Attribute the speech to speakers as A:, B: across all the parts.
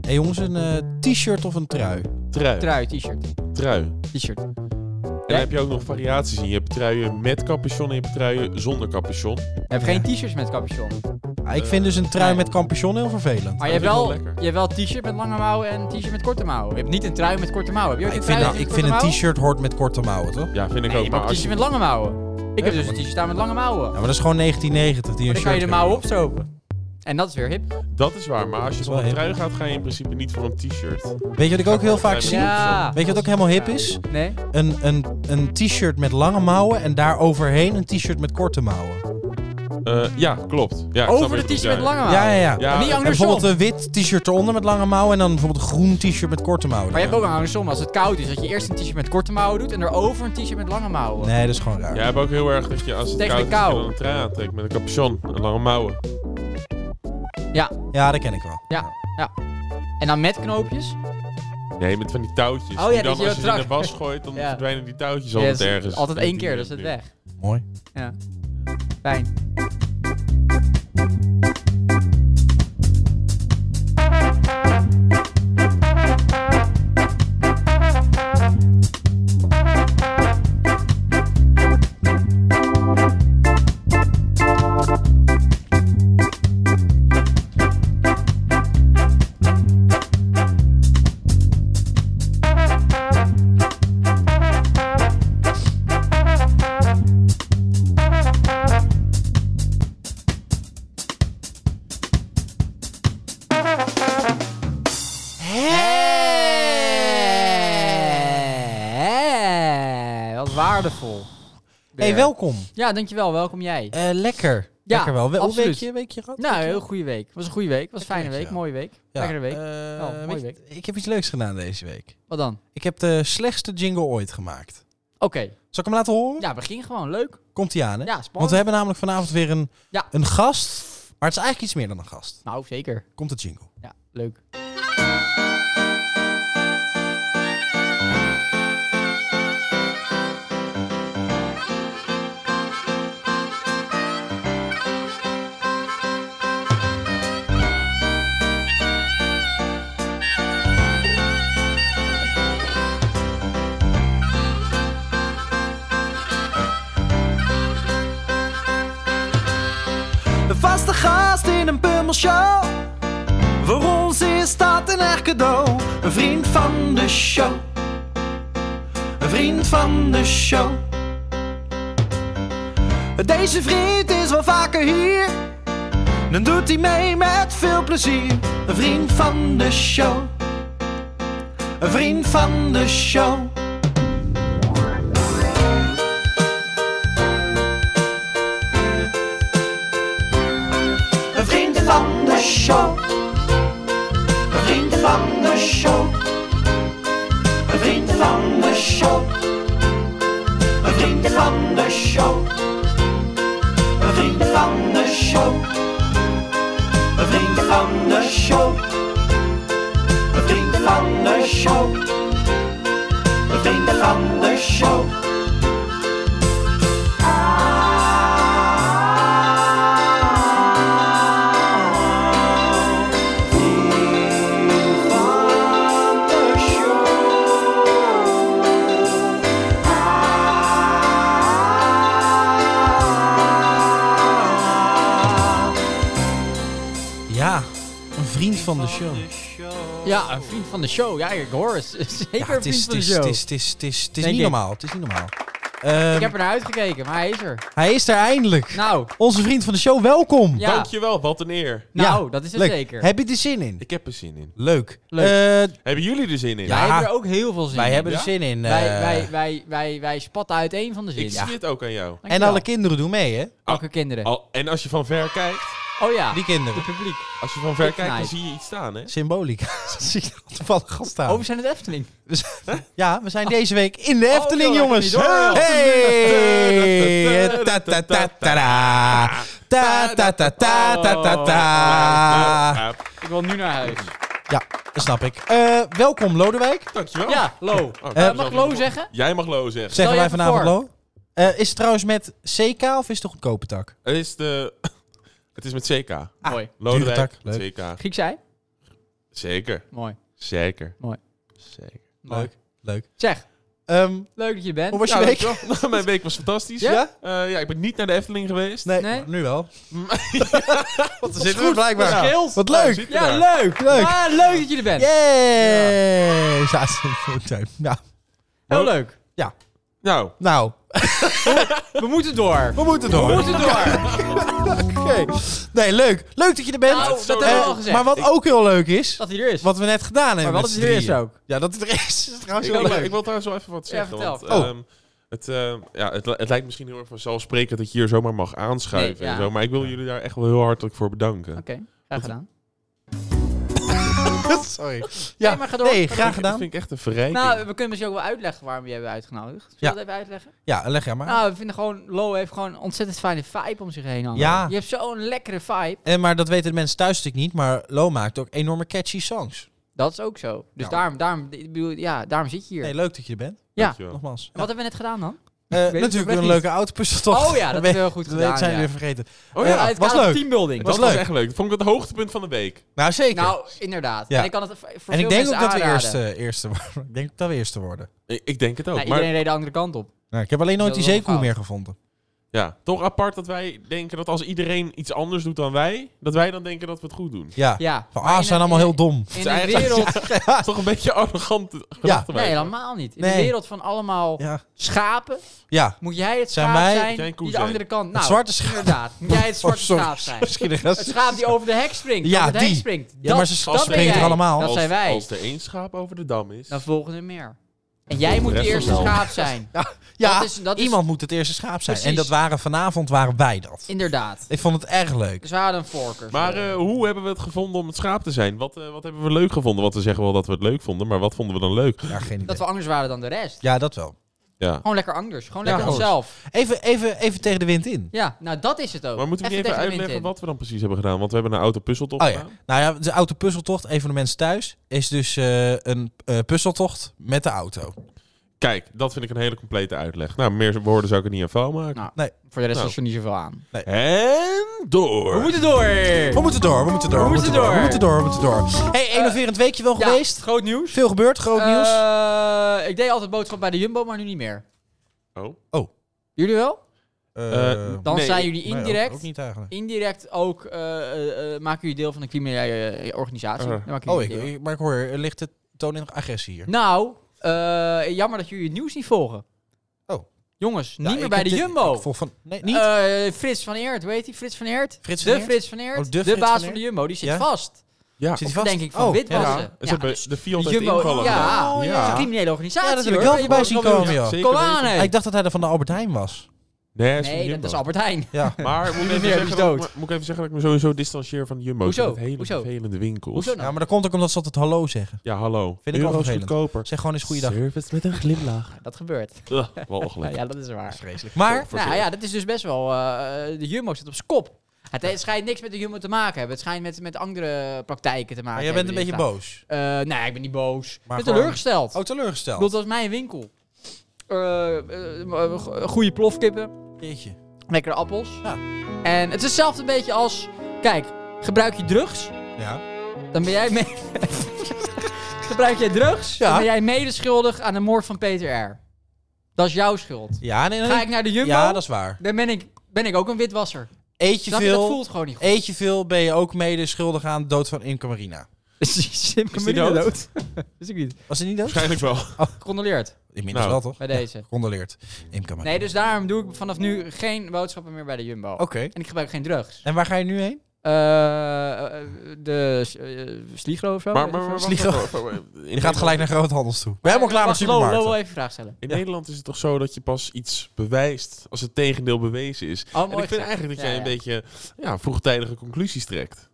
A: hey jongens, een eh, t-shirt of een trui?
B: Trui.
C: Trui, t-shirt.
B: Trui. En
C: T-shirt.
B: dan heb je ook nog variaties in. Je hebt truien met capuchon en je hebt truien zonder capuchon.
C: Heb geen t-shirts met capuchon.
A: Ah, ik vind dus een trui
C: nee.
A: met capuchon heel vervelend.
C: Maar je hebt
B: wel
C: wel,
B: lekker.
C: je hebt wel een t-shirt met lange mouwen en een t-shirt met korte mouwen. Je hebt niet een trui met korte mouwen. Heb je ook
A: ik
C: een
A: vind,
C: trui
A: een-
C: met
A: ik vind een
C: korte
A: t-shirt hoort met korte mouwen, toch?
B: Ja, vind ik
C: mouwen?
B: ook.
C: Nee, maar
B: Maar
C: een
B: als
C: t-shirt met lange mouwen. Ik heb dus een t-shirt aan met lange mouwen.
A: Ja, maar dat is gewoon 1990 die een
C: Maar dan kan je
A: shirt
C: de
A: geeft.
C: mouwen opstropen. En dat is weer hip.
B: Dat is waar, maar als je
A: is
B: voor
A: wel
B: een
A: hip.
B: trui gaat, ga je in principe niet voor een t-shirt.
A: Weet je wat ik ook heel vaak
B: Ja.
A: zie? Weet je wat ook helemaal hip is?
C: Nee?
A: Een, een, een t-shirt met lange mouwen en daar overheen een t-shirt met korte mouwen.
B: Eh, ja, klopt. Ja, ik snap
C: Over
B: wat
C: de
B: je bedoelt,
C: t-shirt met
B: ja.
C: lange mouwen.
A: Ja, ja, ja.
B: Ja,
C: En niet
B: en
A: En
C: andersom.
A: bijvoorbeeld eh, een wit t-shirt eronder met lange mouwen en dan bijvoorbeeld een groen t-shirt met korte mouwen.
C: Maar je hebt ook een andersom. Als het koud is, dat je eerst een t-shirt met korte mouwen doet en daarover een t-shirt met lange mouwen.
A: Nee, dat is gewoon raar.
B: Jij hebt ook heel erg dat je als het
C: Tegen de
B: koud is, dat je
C: kou.
B: dan een trui aantrekt met een capuchon en lange mouwen.
C: Ja,
A: Ja, dat ken ik wel.
C: ja, ja. En dan met knoopjes.
B: Nee, met van die touwtjes.
C: Oh ja,
B: die
C: dat
B: dan als
C: je
B: je
C: dat
B: ze in de
C: trak-
B: was gooit, dan
C: Ja.
B: verdwijnen die touwtjes
C: Ja,
B: altijd
C: dat is
B: ergens.
C: Altijd
B: Met
C: één
B: die-
C: keer, dus het weg.
A: Mooi.
C: Ja. Fijn. Hey! Wat waardevol.
A: Hé,
C: Weer.
A: hey, welkom.
C: Ja, dankjewel. Welkom jij.
A: Eh, lekker.
C: Ja,
A: lekker wel. Wel- Hoe
C: absoluut.
A: week je, week je gehad?
C: Nou,
A: Week je?
C: heel goede week. Was een goede week. Was een fijne
A: Lekker
C: week.
A: week,
C: Mooie week.
A: Ja,
C: Lekkere week.
A: eh,
C: Oh,
A: weet
C: mooie
A: je,
C: week.
A: Ik heb iets leuks gedaan deze week.
C: Wat dan?
A: Ik heb de slechtste jingle ooit gemaakt.
C: Oké.
A: Zal ik hem laten horen?
C: Ja, begin gewoon. Leuk.
A: Komt hij aan, hè?
C: Ja,
A: Want
C: spannend.
A: we hebben namelijk vanavond weer een,
C: Ja.
A: een gast. Maar het is eigenlijk iets meer dan een gast.
C: Nou, zeker.
A: Komt de jingle.
C: Ja, leuk.
D: De vaste gast in een pummelshow. Voor ons is dat een echt cadeau. Een vriend van de show. Een vriend van de show. Deze vriend is wel vaker hier. Dan doet hij mee met veel plezier. Een vriend van de show. Een vriend van de show. Een vriend van de show. Een vriend van de show. Een vriend van de show. Een vriend van de show. Een vriend van de show. Een vriend van de show. Een vriend van de show. Een vriend van de show.
A: Ja, een vriend van de show.
C: Ja, een vriend van de show. Ja, ik hoor het. Zeker
A: Ja,
C: een
A: het
C: vriend
A: is,
C: van
A: het
C: de
A: is,
C: show.
A: het is, het is, het is, het is
C: Denk
A: niet
C: ik.
A: normaal. Het is niet normaal. Ehm,
C: Ik heb er naar uitgekeken, maar hij is er.
A: Hij is er eindelijk.
C: Nou,
A: Onze vriend van de show, welkom.
C: Ja.
B: Dankjewel, wat een eer.
C: nou,
A: Ja,
C: dat is het
A: Leuk.
C: zeker.
A: Heb je er zin in?
B: Ik heb er zin in.
A: Leuk.
C: Leuk.
A: Eh,
B: Hebben jullie er zin in?
A: Ja.
C: Wij hebben er ook heel veel zin
A: wij
C: in.
A: hebben er
B: Ja?
A: zin in. eh.
C: wij, wij, wij, wij, wij spatten uiteen van de zin.
B: Ik zie het ook aan jou.
A: en alle kinderen doen mee, hè?
C: Elke kinderen.
B: Al, en als je van ver kijkt,
C: Oh ja,
A: Die
C: het
A: kinderen.
C: publiek.
B: als je van ver
C: Ik
B: kijkt, dan
C: knijp.
B: zie je iets staan, hè?
A: Symbolica. Zie ik dat toevallig gast staan.
C: Oh, we zijn het Efteling.
A: Ja, we zijn deze week in de Efteling,
C: joh, dat
A: jongens.
C: kan niet door.
A: Hey! Ta ta ta ta da. Ta ta ta ta ta ta ta.
B: Ja,
C: Ik wil nu naar huis.
A: Oh. Ja, dat snap ik. Eh, welkom, Lodewijk.
B: Dankjewel.
C: Ja, Lo.
B: Oh, dat
A: Eh,
B: is
C: mag
B: al-
C: ik Lo zeggen?
B: Jij mag Lo zeggen.
A: Zeggen
C: je
A: wij
C: even
A: vanavond
C: voor.
A: Lo? Eh, is het trouwens met CK of is het de goedkope tak?
B: Het is de... Het Het is met CK.
A: Ah.
C: Mooi.
B: Lodewijk,
A: tak, leuk.
B: CK.
C: Grieks ei?
B: Zeker.
C: Mooi.
B: Zeker.
C: Mooi.
B: Zeker.
C: Leuk.
A: Leuk.
C: Zeg,
A: Ehm,
C: leuk dat je bent.
A: hoe was je
B: Ja,
A: week?
B: dankjewel. Nou, Mijn week was fantastisch.
C: Ja?
B: Ja? ja, ik ben niet naar de Efteling geweest.
A: Nee,
C: Nee?
A: nu wel. Wat
B: is
A: zitten we blijkbaar.
B: Ja.
C: Scheelt.
A: Wat
B: Ja,
A: leuk.
B: zit je
C: Ja,
B: daar.
C: leuk.
A: Leuk.
C: Ah, leuk dat je er bent.
A: Yay! Zaten we in de Ja.
C: Heel leuk.
B: Nou,
A: Nou,
C: We moeten door.
A: we moeten
C: We
A: door.
C: moeten door.
A: Oké. Nee, leuk. Leuk dat je er bent.
C: Nou, dat
B: hebben
A: Eh,
C: we al gezegd.
A: Maar wat ook heel leuk is,
C: Dat hij er is.
A: wat we net gedaan hebben
C: maar wat
A: met
C: is
A: z'n
C: er is
A: drieën.
C: ook.
A: Ja, dat het er is, is trouwens
B: ik
A: heel
B: wil,
A: leuk.
B: ik wil trouwens wel even wat
C: Ja,
B: zeggen.
C: vertel.
B: want,
A: Oh.
B: ehm, het, ehm, ja, het, het lijkt misschien heel erg vanzelfsprekend dat je hier zomaar mag aanschuiven
C: Nee, ja.
B: en zo. Maar ik wil jullie daar echt wel heel hartelijk voor bedanken.
C: Oké, graag gedaan.
A: Sorry.
C: Nee, maar ga door.
A: nee,
C: Ga
A: graag
B: Dat
A: gedaan.
B: vind ik echt een verrijking.
C: Nou, we kunnen misschien ook wel uitleggen waarom we je hebben uitgenodigd. Zullen we
A: Ja.
C: dat even uitleggen?
A: Ja, leg jij maar.
C: Nou, we vinden gewoon... Lo heeft gewoon een ontzettend fijne vibe om zich heen hangen.
A: Ja.
C: Je hebt zo'n lekkere vibe.
A: En, maar dat weten de mensen thuis natuurlijk niet, maar Lo maakt ook enorme catchy songs.
C: Dat is ook zo. Dus
A: Ja.
C: daarom, daarom, ik bedoel, ja, daarom zit je hier.
A: Nee, leuk dat je er bent.
C: ja.
B: Dankjewel.
A: Nogmaals.
C: En wat hebben we net gedaan dan?
A: Eh,
C: het nog
A: natuurlijk
C: net
A: een
C: niet.
A: leuke autopuzzeltocht.
C: Oh ja, dat hebben we heel goed
A: Dat
C: gedaan,
A: zijn
C: ja.
A: we weer vergeten.
B: Oh
A: Ja,
B: ja,
A: het
C: Uit
A: was
C: kader
A: leuk.
C: teambuilding.
A: was
B: dat was
A: leuk.
B: echt leuk. Dat vond ik het hoogtepunt van de week.
A: Nou, zeker.
C: Nou, inderdaad.
A: Ja.
C: En ik kan het v- voor
A: en ik
C: veel
A: denk ook
C: mensen
A: dat we eh,
C: aanraden.
A: eerste, eerste worden. Ik denk ook dat we eerste worden.
B: Ik, ik denk het ook.
A: oh,
C: Nou,
B: maar
C: Iedereen reed de andere kant op.
A: Nou, ik heb alleen nooit
C: Dat
A: die
C: is wel een
A: zeekoe
C: fout.
A: meer gevonden.
B: ja, toch apart dat wij denken dat als iedereen iets anders doet dan wij, dat wij dan denken dat we het goed doen.
A: Ja.
C: Ja.
A: Van,
C: Maar
A: ah,
C: in
A: ze zijn
C: een-
A: allemaal heel dom.
C: In
B: is
C: de
B: eigenlijk-
C: wereld...
B: Dat is toch een beetje arrogant gedachte
C: Nee,
B: wij.
C: helemaal niet. In de
A: Nee.
C: wereld van allemaal
A: Ja.
C: schapen
A: Ja.
C: moet jij het
A: Zijn
C: schaap
A: wij-
B: Moet jij
C: zijn
B: een koe
C: die de
B: zijn?
C: andere kant... Nou,
A: het zwarte schaap.
C: Inderdaad. Moet jij het zwarte
A: Oh, sorry.
C: schaap zijn.
A: Misschien een
C: Het
A: gast.
C: schaap die over de hek springt.
A: Ja,
C: Ja, over de hek
A: die.
C: springt.
A: Ja, maar ze
C: dat
A: springen
C: ben
A: er
C: jij.
A: allemaal.
C: Dat
B: als,
C: zijn wij.
B: Als er één schaap over de dam is.
C: Dan volgen er meer. En jij moet
B: rest
C: de eerste
B: wel.
C: schaap zijn.
A: Ja,
C: dat is- dat is-
A: iemand moet het eerste schaap zijn. En
C: Precies.
A: dat waren vanavond waren wij dat.
C: Inderdaad.
A: Ik vond het erg leuk.
C: Dus we hadden een voorkeur.
B: Maar eh, hoe hebben we het gevonden om het schaap te zijn? Wat, eh, wat hebben we leuk gevonden? Want we zeggen wel dat we het leuk vonden, maar wat vonden we dan leuk?
A: Ja, geen idee.
C: dat we anders waren dan de rest.
A: Ja, dat wel.
B: Ja.
C: Gewoon lekker anders. Gewoon
A: Ja,
C: lekker
A: gewoon.
C: onszelf.
A: Even, even, even tegen de wind in.
C: Ja, nou dat is het ook.
B: Maar moeten we niet even
C: tegen de wind
B: uitleggen
C: in.
B: wat we dan precies hebben gedaan? Want we hebben een autopuzzeltocht
A: Oh ja.
B: gedaan.
A: Nou ja, de autopuzzeltocht, een van de mensen thuis, is dus eh, een eh, puzzeltocht met de auto.
B: Kijk, dat vind ik een hele complete uitleg. Nou, meer woorden zou ik er niet aan vuil maken.
C: Nou,
A: Nee.
C: Voor de rest
B: Nou.
C: is er niet zoveel aan.
B: En door.
C: We moeten door!
A: We moeten door, we moeten door, we moeten door, we moeten door, we moeten door. hey, enerverend weekje wel
C: Eh, Ja,
A: geweest. Eh,
C: groot nieuws.
A: Veel gebeurd, groot nieuws.
C: Eh, ik deed altijd boodschap bij de Jumbo, maar nu niet meer.
B: Oh.
C: Jullie wel?
B: eh,
C: Dan
B: Nee,
C: zijn jullie
A: nee, ook-
C: indirect...
A: ook niet eigenlijk.
C: Indirect ook eh, eh, eh, maken jullie deel van een criminele eh, organisatie.
B: Eh.
C: Dan maken jullie
A: Oh, ik,
C: deel.
A: ik- maar ik hoor, er ligt de toon in agressie hier.
C: Nou, eh, jammer dat jullie het nieuws niet volgen.
A: Oh.
C: Jongens,
A: Ja,
C: niet meer
A: ik
C: bij
A: heb
C: de
A: dit-
C: Jumbo.
A: ik volg van, nee, niet.
C: Eh, Frits van Eert, weet hij? Frits van Eert?
A: Frits
C: de
A: van Eert?
C: Frits van Eert,
A: Oh, de
C: de,
A: Frits van
C: baas van
A: Eert?
C: de Jumbo, die zit
A: Ja?
C: vast.
B: Ja.
A: Zit
C: Of
A: hij vast?
C: denk ik van
A: Oh,
C: witwassen.
A: ja.
B: Ja, Ze hebben de Fiat
C: de
B: heeft
C: Jumbo,
B: invallen
C: ja,
B: gedaan.
A: Oh, ja.
C: het is een criminele organisatie.
A: Ja, dat heb ik
C: hoor.
A: wel voorbij zien komen, joh.
B: Zeker
C: Kom aan,
B: weten.
C: hè.
A: Ah, Ik dacht dat hij er van de Albert Heijn was.
B: Nee, hij is van
C: Nee, dat
B: Jumbo.
C: is Albert Heijn.
A: Ja.
B: Maar moet ik, even
C: Meneer, die
B: zeggen
C: is
B: dat, ik
C: dood.
B: me- moet ik even zeggen dat ik me sowieso distancieer van de Jumbo.
C: Hoezo?
B: Het zijn hele
C: Hoezo?
B: vervelende winkels.
C: Hoezo nou?
A: ja, maar dat komt ook omdat ze altijd hallo zeggen.
B: Ja, hallo.
A: Vind ik wel
B: Euro's
A: vervelend.
B: goedkoper.
A: Zeg gewoon eens goeiedag.
B: Service met een glimlach.
C: Dat gebeurt.
B: Ugh, walgelijk.
C: Ja, dat is waar.
A: Vreselijk. Maar,
B: Voor
C: Nou
B: zeer.
C: ja, dat is dus best wel... eh, de Jumbo zit op zijn kop. Het, het schijnt niks met de Jumbo te maken hebben. Het schijnt met, met andere praktijken te maken
A: maar jij
C: hebben
A: bent een
C: die
A: beetje
C: staan.
A: boos.
C: Eh, nee, ik ben niet boos.
A: Maar
C: ik ben
A: gewoon-
C: teleurgesteld.
A: Oh,
C: Ik
A: teleurgesteld.
C: bedoel, dat was mijn winkel. Eh, eh, eh, go- goede plofkippen,
A: Jeetje.
C: lekkere appels.
A: Ja.
C: En het is hetzelfde een beetje als... Kijk, gebruik je drugs,
A: Ja.
C: dan ben jij... Mee... gebruik jij drugs,
A: Ja.
C: dan ben jij medeschuldig aan de moord van Peter R. Dat is jouw schuld.
A: Ja, nee, nee.
C: Ga ik naar de Jumbo,
A: ja, dat is waar.
C: dan ben ik, ben ik ook een witwasser.
A: Eet je
C: Snap je, dat
A: veel,
C: voelt gewoon niet goed.
A: eet je veel, ben je ook mede schuldig aan de dood van Inke Marina.
C: Is die
B: dood?
C: Wist ik niet.
A: Was hij niet dood?
B: Waarschijnlijk wel.
C: Gecondoleerd
A: Inmiddels
B: Nou.
A: wel, toch?
C: bij deze.
A: Condoleert. Inke Marina.
C: Nee, dus daarom doe ik vanaf nu geen boodschappen meer bij de Jumbo.
A: Oké.
C: En ik gebruik geen drugs.
A: En waar ga je nu heen?
C: Eh, eh, de eh, Sligro of zo.
B: Maar, maar, maar
C: Of-
B: wacht
A: Sligo.
B: even. In
A: Je gaat gelijk naar groothandels toe. Ik ben helemaal klaar met
C: Wacht, Lo, Lo wil
A: supermarkten.
C: even een vraag stellen.
B: In
A: Ja.
B: Nederland is het toch zo dat je pas iets bewijst als het tegendeel bewezen is.
C: Oh, mooi
B: en ik vind
C: gezegd.
B: eigenlijk dat
C: Ja,
B: jij
C: ja.
B: een beetje ja, vroegtijdige conclusies trekt.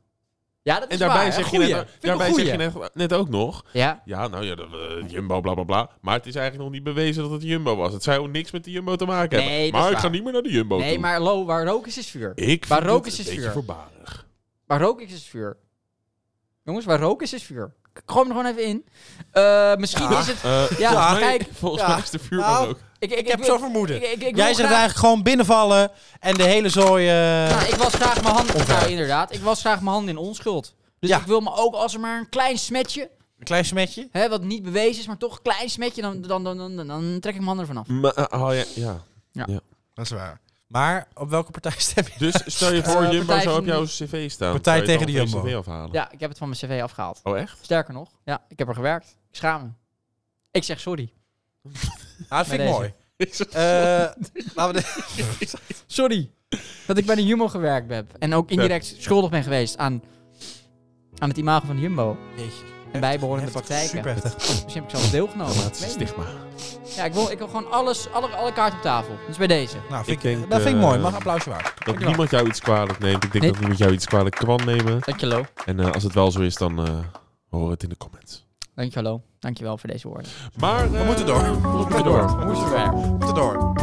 C: Ja, dat is
B: En daarbij
C: waar,
B: zeg
C: hè?
B: je, net,
C: Goeie. Vind ik een
B: daarbij zeg je
C: goeie.
B: net, net ook nog...
C: Ja,
B: Ja, nou ja, dat, eh, Jumbo, bla bla bla. Maar het is eigenlijk nog niet bewezen dat het Jumbo was. Het zou niks met de Jumbo te maken hebben.
C: Nee, dat is
B: maar ik
C: waar.
B: ga niet meer naar de Jumbo
C: nee,
B: toe.
C: maar Lo, waar rook is, is vuur.
B: ik
C: waar
B: vind
C: rook
B: het
C: is, is
B: een beetje
C: vuur.
B: voorbarig.
C: Waar rook is, is vuur. Jongens, waar rook is, is vuur. Ik gooi hem er gewoon even in. Eh, misschien is het...
B: Eh,
C: Ja, nou,
B: volgens mij-
C: kijk.
B: Volgens
A: Ja.
B: mij is de vuurman
A: Nou.
B: ook.
C: Ik, ik, ik
A: heb
C: wil-
A: zo'n vermoeden.
C: ik- ik- ik wil
A: Jij zegt
C: graag-
A: eigenlijk gewoon binnenvallen en de hele zooi... eh,
C: Nou, ik was graag mijn hand...
A: Onver.
C: Ja, inderdaad. Ik was graag mijn hand in onschuld. Dus
A: Ja.
C: ik wil me ook, als er maar een klein smetje,
A: Een klein smetje.
C: hè, wat niet bewezen is, maar toch een klein smetje, dan, dan, dan, dan, dan, dan trek ik mijn handen ervan af.
B: Maar, eh, oh ja, ja.
D: Dat is waar.
A: Maar op welke partij stem je?
B: Dus stel je voor,
C: Eh,
B: Jumbo
C: partij
B: zou op
C: van-
B: jouw cv staan.
A: Partij
B: Zou je
A: tegen
B: dan
A: de
B: van je
A: Jumbo.
B: CV afhalen?
C: Ja, ik heb het van mijn cv afgehaald.
B: Oh, echt?
C: Sterker nog, ja, ik heb er gewerkt. Ik schaam me. Ik zeg sorry.
A: Ah, dat vind ik
C: Bij
A: mooi. Eh, laten we de-
C: Sorry. Dat ik bij de Jumbo gewerkt heb. En ook indirect schuldig ben geweest aan, aan het imago van Jumbo. En bijbehorende
A: Heftig,
C: praktijken. Dus
A: Super heftig.
C: Misschien heb ik zelf deelgenomen. Ik weet niet.
B: Stigma.
C: Ja, ik wil, ik wil gewoon alles, alle, alle kaarten op tafel. Dus bij deze.
A: Nou,
B: Ik
A: vind ik,
B: denk,
A: dat vind ik
B: eh,
A: mooi. Mag een applausje waard.
B: Dat
A: Dankjewel.
B: niemand jou iets kwalijk neemt. Ik denk
C: Nee.
B: dat niemand jou iets kwalijk kan nemen.
C: Dankjewel.
B: En eh, als het wel zo is, dan eh, horen hoor het in de comments.
C: Dankjewel. Dankjewel voor deze woorden.
B: Maar eh,
A: We moeten door. We moeten door.
C: Hoe is het werk?
A: We moeten door.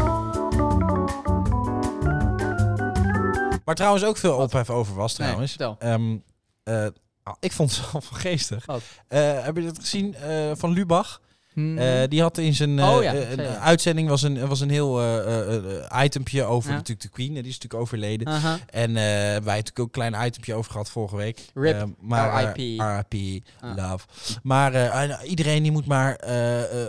A: Waar trouwens ook veel ophef over was
C: Nee,
A: trouwens.
C: vertel.
A: Ehm, eh, ah, ik vond het wel van geestig.
C: Wat?
A: Eh, heb je dat gezien eh, van Lubach?
C: Hmm.
A: Eh, die had in zijn eh,
C: Oh ja,
A: eh,
C: zeker.
A: een, eh, uitzending was een, was een heel eh, eh, eh, itempje over
C: Ja.
A: natuurlijk de Queen. Eh, Die is natuurlijk overleden.
C: Aha.
A: En eh, wij hebben natuurlijk ook een klein itempje over gehad vorige week.
C: Rip.
A: Eh, maar,
C: RIP.
A: eh, RIP,
C: Ah.
A: love. Maar eh, en iedereen die moet maar eh, eh,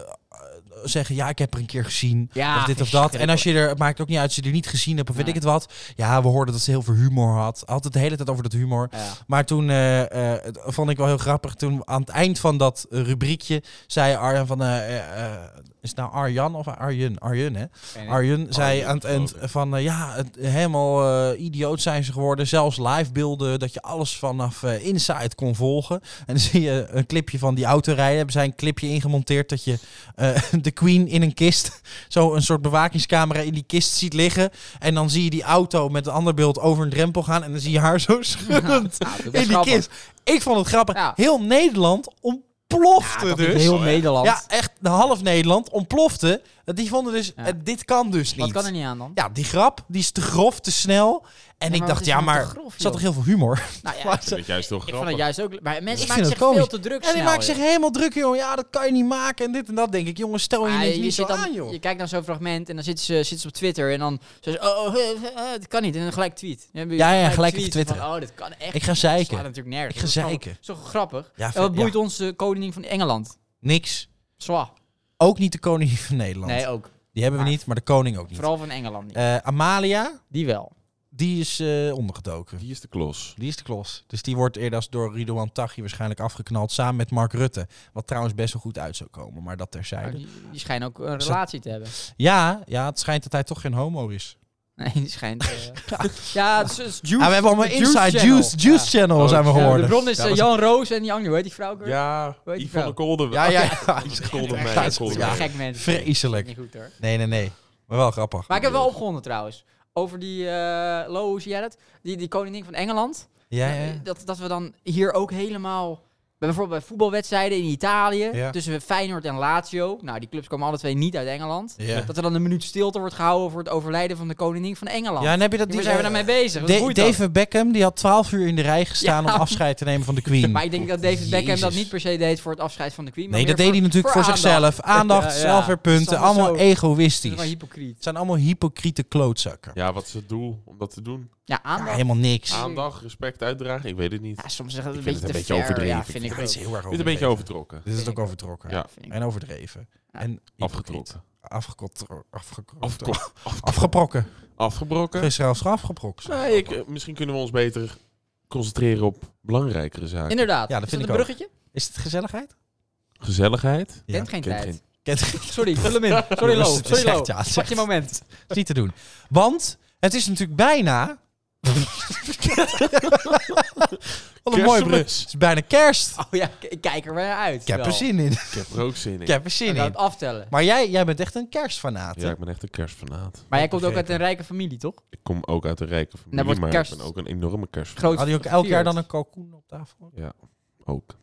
A: zeggen, ja, ik heb er een keer gezien.
C: Ja,
A: of dit of dat. En als je er, het maakt ook niet uit, als je er niet gezien hebt of weet
C: Nee.
A: ik het wat. Ja, we hoorden dat ze heel veel humor had. Altijd de hele tijd over dat humor.
C: Ja.
A: Maar toen eh, eh, het vond ik wel heel grappig. Toen aan het eind van dat eh, rubriekje zei Arjan van... eh, eh, eh, is het nou Arjan of Arjen? Arjen, hè?
C: Geen idee.
A: Arjen zei
B: Arjen,
A: aan het eind
B: geloof ik.
A: van... eh, ja, het, helemaal eh, idioot zijn ze geworden. Zelfs livebeelden, dat je alles vanaf eh, Inside kon volgen. En dan zie je een clipje van die auto rijden. Hebben zij een clipje ingemonteerd dat je eh, de queen in een kist... zo een soort bewakingscamera in die kist ziet liggen. En dan zie je die auto met een ander beeld over een drempel gaan. En dan zie je haar zo schuddend
C: Nou, doe best
A: in die
C: grappig.
A: kist. Ik vond het grappig.
C: Ja.
A: Heel Nederland ontplofte
C: Ja, dat is
A: dus.
C: heel Nederland.
A: Ja, echt de half Nederland ontplofte. Die vonden dus,
C: Ja.
A: eh, dit kan dus
C: Wat
A: niet.
C: kan er niet aan dan?
A: Ja, die grap, die is te grof, te snel. En
C: maar
A: ik
C: wat
A: dacht,
C: is
A: ja,
C: nou
A: maar
C: te grof,
A: er zat toch
C: joh?
A: heel veel humor?
C: Nou ja,
A: Maar
C: ik
A: ze-
B: vind jij is toch
C: vond
B: grappig.
C: het juist ook... Maar mensen
A: Ik
C: maken
A: vind het
C: zich
A: komisch.
C: veel te druk
A: En die
C: snel,
A: maken
C: joh.
A: zich helemaal druk, joh. Ja, dat kan je niet maken en dit en dat, denk ik. Jongens, stel je
C: Ah,
A: niet, niet zo
C: zit dan,
A: aan, joh.
C: je kijkt naar zo'n fragment en dan zit ze, zit ze op Twitter en dan zegt ze, oh, eh, eh, eh, dat kan niet. En dan gelijk tweet. Dan heb je
A: Ja, ja, gelijk
C: tweet
A: even twitteren.
C: Van, oh, dat kan echt.
A: Ik ga
C: dat slaat
A: zeiken.
C: natuurlijk nergens.
A: Ik ga
C: Dat is gewoon-
A: zeiken.
C: Zo grappig.
A: Ja,
C: en wat
A: ja.
C: boeit ons de koningin van Engeland?
A: Niks.
C: Zwa.
A: Ook niet de koning van Nederland.
C: Nee, ook.
A: die hebben we
C: maar-
A: niet, maar de koning ook niet.
C: Vooral van Engeland niet.
A: Eh, Amalia,
C: Die wel.
A: die is eh, ondergedoken.
B: Die is de klos.
A: Die is de klos. Dus die wordt eerder als door Ridouan Taghi waarschijnlijk afgeknald samen met Mark Rutte. Wat trouwens best wel goed uit zou komen, maar dat
C: Maar
A: terzijde.
C: Die, die schijnen ook een relatie te hebben.
A: Ja, ja het schijnt dat hij toch geen homo is.
C: Nee, die schijnt... eh, ja, het is, het is Juice.
A: Ah, we hebben allemaal
C: de Juice
A: Inside
C: Channel.
A: Juice, juice Channel
B: Oh,
A: zijn we
B: ja,
C: Ja, de
A: geworden.
C: bron is
B: Ja,
C: eh,
B: was-
C: Jan Roos en die andere, hoe heet die vrouw? ook weer?
B: Ja,
C: Weet je
B: Yvonne
C: wel.
B: Kolder.
A: Ja, ja.
B: Koldermeijer,
A: Ja,
B: Koldermeijer.
C: Gek mens.
A: Vreselijk.
C: Niet goed hoor.
A: Nee, nee, nee. Maar wel grappig.
C: Maar ik heb wel opgewonden trouwens. Over die, eh Lo, hoe zie jij dat? Die, die koningin van Engeland. Eh,
A: Ja, ja.
C: Dat, dat we dan hier ook helemaal... bij- Bijvoorbeeld bij voetbalwedstrijden in Italië.
A: Ja.
C: Tussen Feyenoord en Lazio. Nou, die clubs komen alle twee niet uit Engeland.
A: Ja.
C: Dat er dan een minuut stilte wordt gehouden voor het overlijden van de koningin van Engeland.
A: ja, en heb je dat...
C: Waar zijn we daarmee bezig? Wat
A: Da-
C: boeit dat?
A: David Beckham, die had 12 uur in de rij gestaan
C: Ja.
A: om afscheid te nemen van de Queen.
C: Maar ik denk dat David Beckham dat
A: Jezus.
C: niet per se deed voor het afscheid van de Queen. maar
A: Nee, dat
C: meer
A: deed hij natuurlijk voor,
C: aandacht.
A: zichzelf. Aandacht,
C: Ja, ja. Het
A: zelfweerpunten,
C: is allemaal
A: allemaal
C: zo- Dat
A: egoïstisch.
C: is maar hypocriet.
A: Het zijn allemaal hypocriete klootzakken.
B: Ja, wat is het doel om dat te doen?
C: Ja,
A: Ja,
C: aandacht.
A: helemaal niks.
B: Aandacht, respect uitdragen? Ik weet het niet.
C: Ja,
B: Ik
C: soms zeggen dat
B: Ik
C: een
B: vind
C: beetje te
B: het een beetje
C: ver.
B: overdreven.
C: Ja, vind ik
A: Ja, het is
C: ook.
A: heel erg
B: vind het een beetje overdrokken.
A: Dit is het
C: Vind
A: ook
C: ik ook.
A: overtrokken.
B: Ja.
C: Vind ik
A: En overdreven.
C: Ja.
A: En
B: Afgetrokken.
A: Afgekotten. Afgekotten.
B: Afgetrokken.
A: Afgeprokken.
B: Afgebroken.
A: Gisteren zelfs afgeprokt.
B: Nee, ik, eh, misschien kunnen we ons beter concentreren op belangrijkere zaken.
C: Inderdaad.
A: Ja, dat
C: Is
A: vind
C: een
A: ik ook.
C: bruggetje?
A: Is het gezelligheid?
B: Gezelligheid.
A: Ja.
C: Kent geen
B: Kent
C: tijd.
B: geen-
A: Kent
C: Sorry, vul hem in. Sorry, Lo.
A: Jongens, het is
C: Sorry, Lo.
A: echt, ja, het is
C: Pak je
A: echt.
C: moment.
A: is niet te doen. Want het is natuurlijk bijna. Wat een mooi brug.
B: Kerstmis. Ah,
A: Het is bijna kerst.
C: Oh ja, k- ik kijk er weer uit.
A: Ik heb er
C: Wel.
A: zin in.
B: Ik heb er ook zin in.
A: Ik heb er zin
C: Ik ga het
A: in.
C: aftellen.
A: Maar jij, jij bent echt een kerstfanaat.
B: Ja, ik ben echt een kerstfanaat.
C: Maar jij komt ook
A: begrepen.
C: uit een rijke familie, toch?
B: Ik kom ook uit een rijke familie,
A: Nou,
C: wordt
B: maar
C: kerst-
B: ik ben ook een enorme kerstfanaat.
C: Groot
A: Had je ook elk
C: gevierd.
A: jaar dan een kalkoen op tafel?
B: Ook.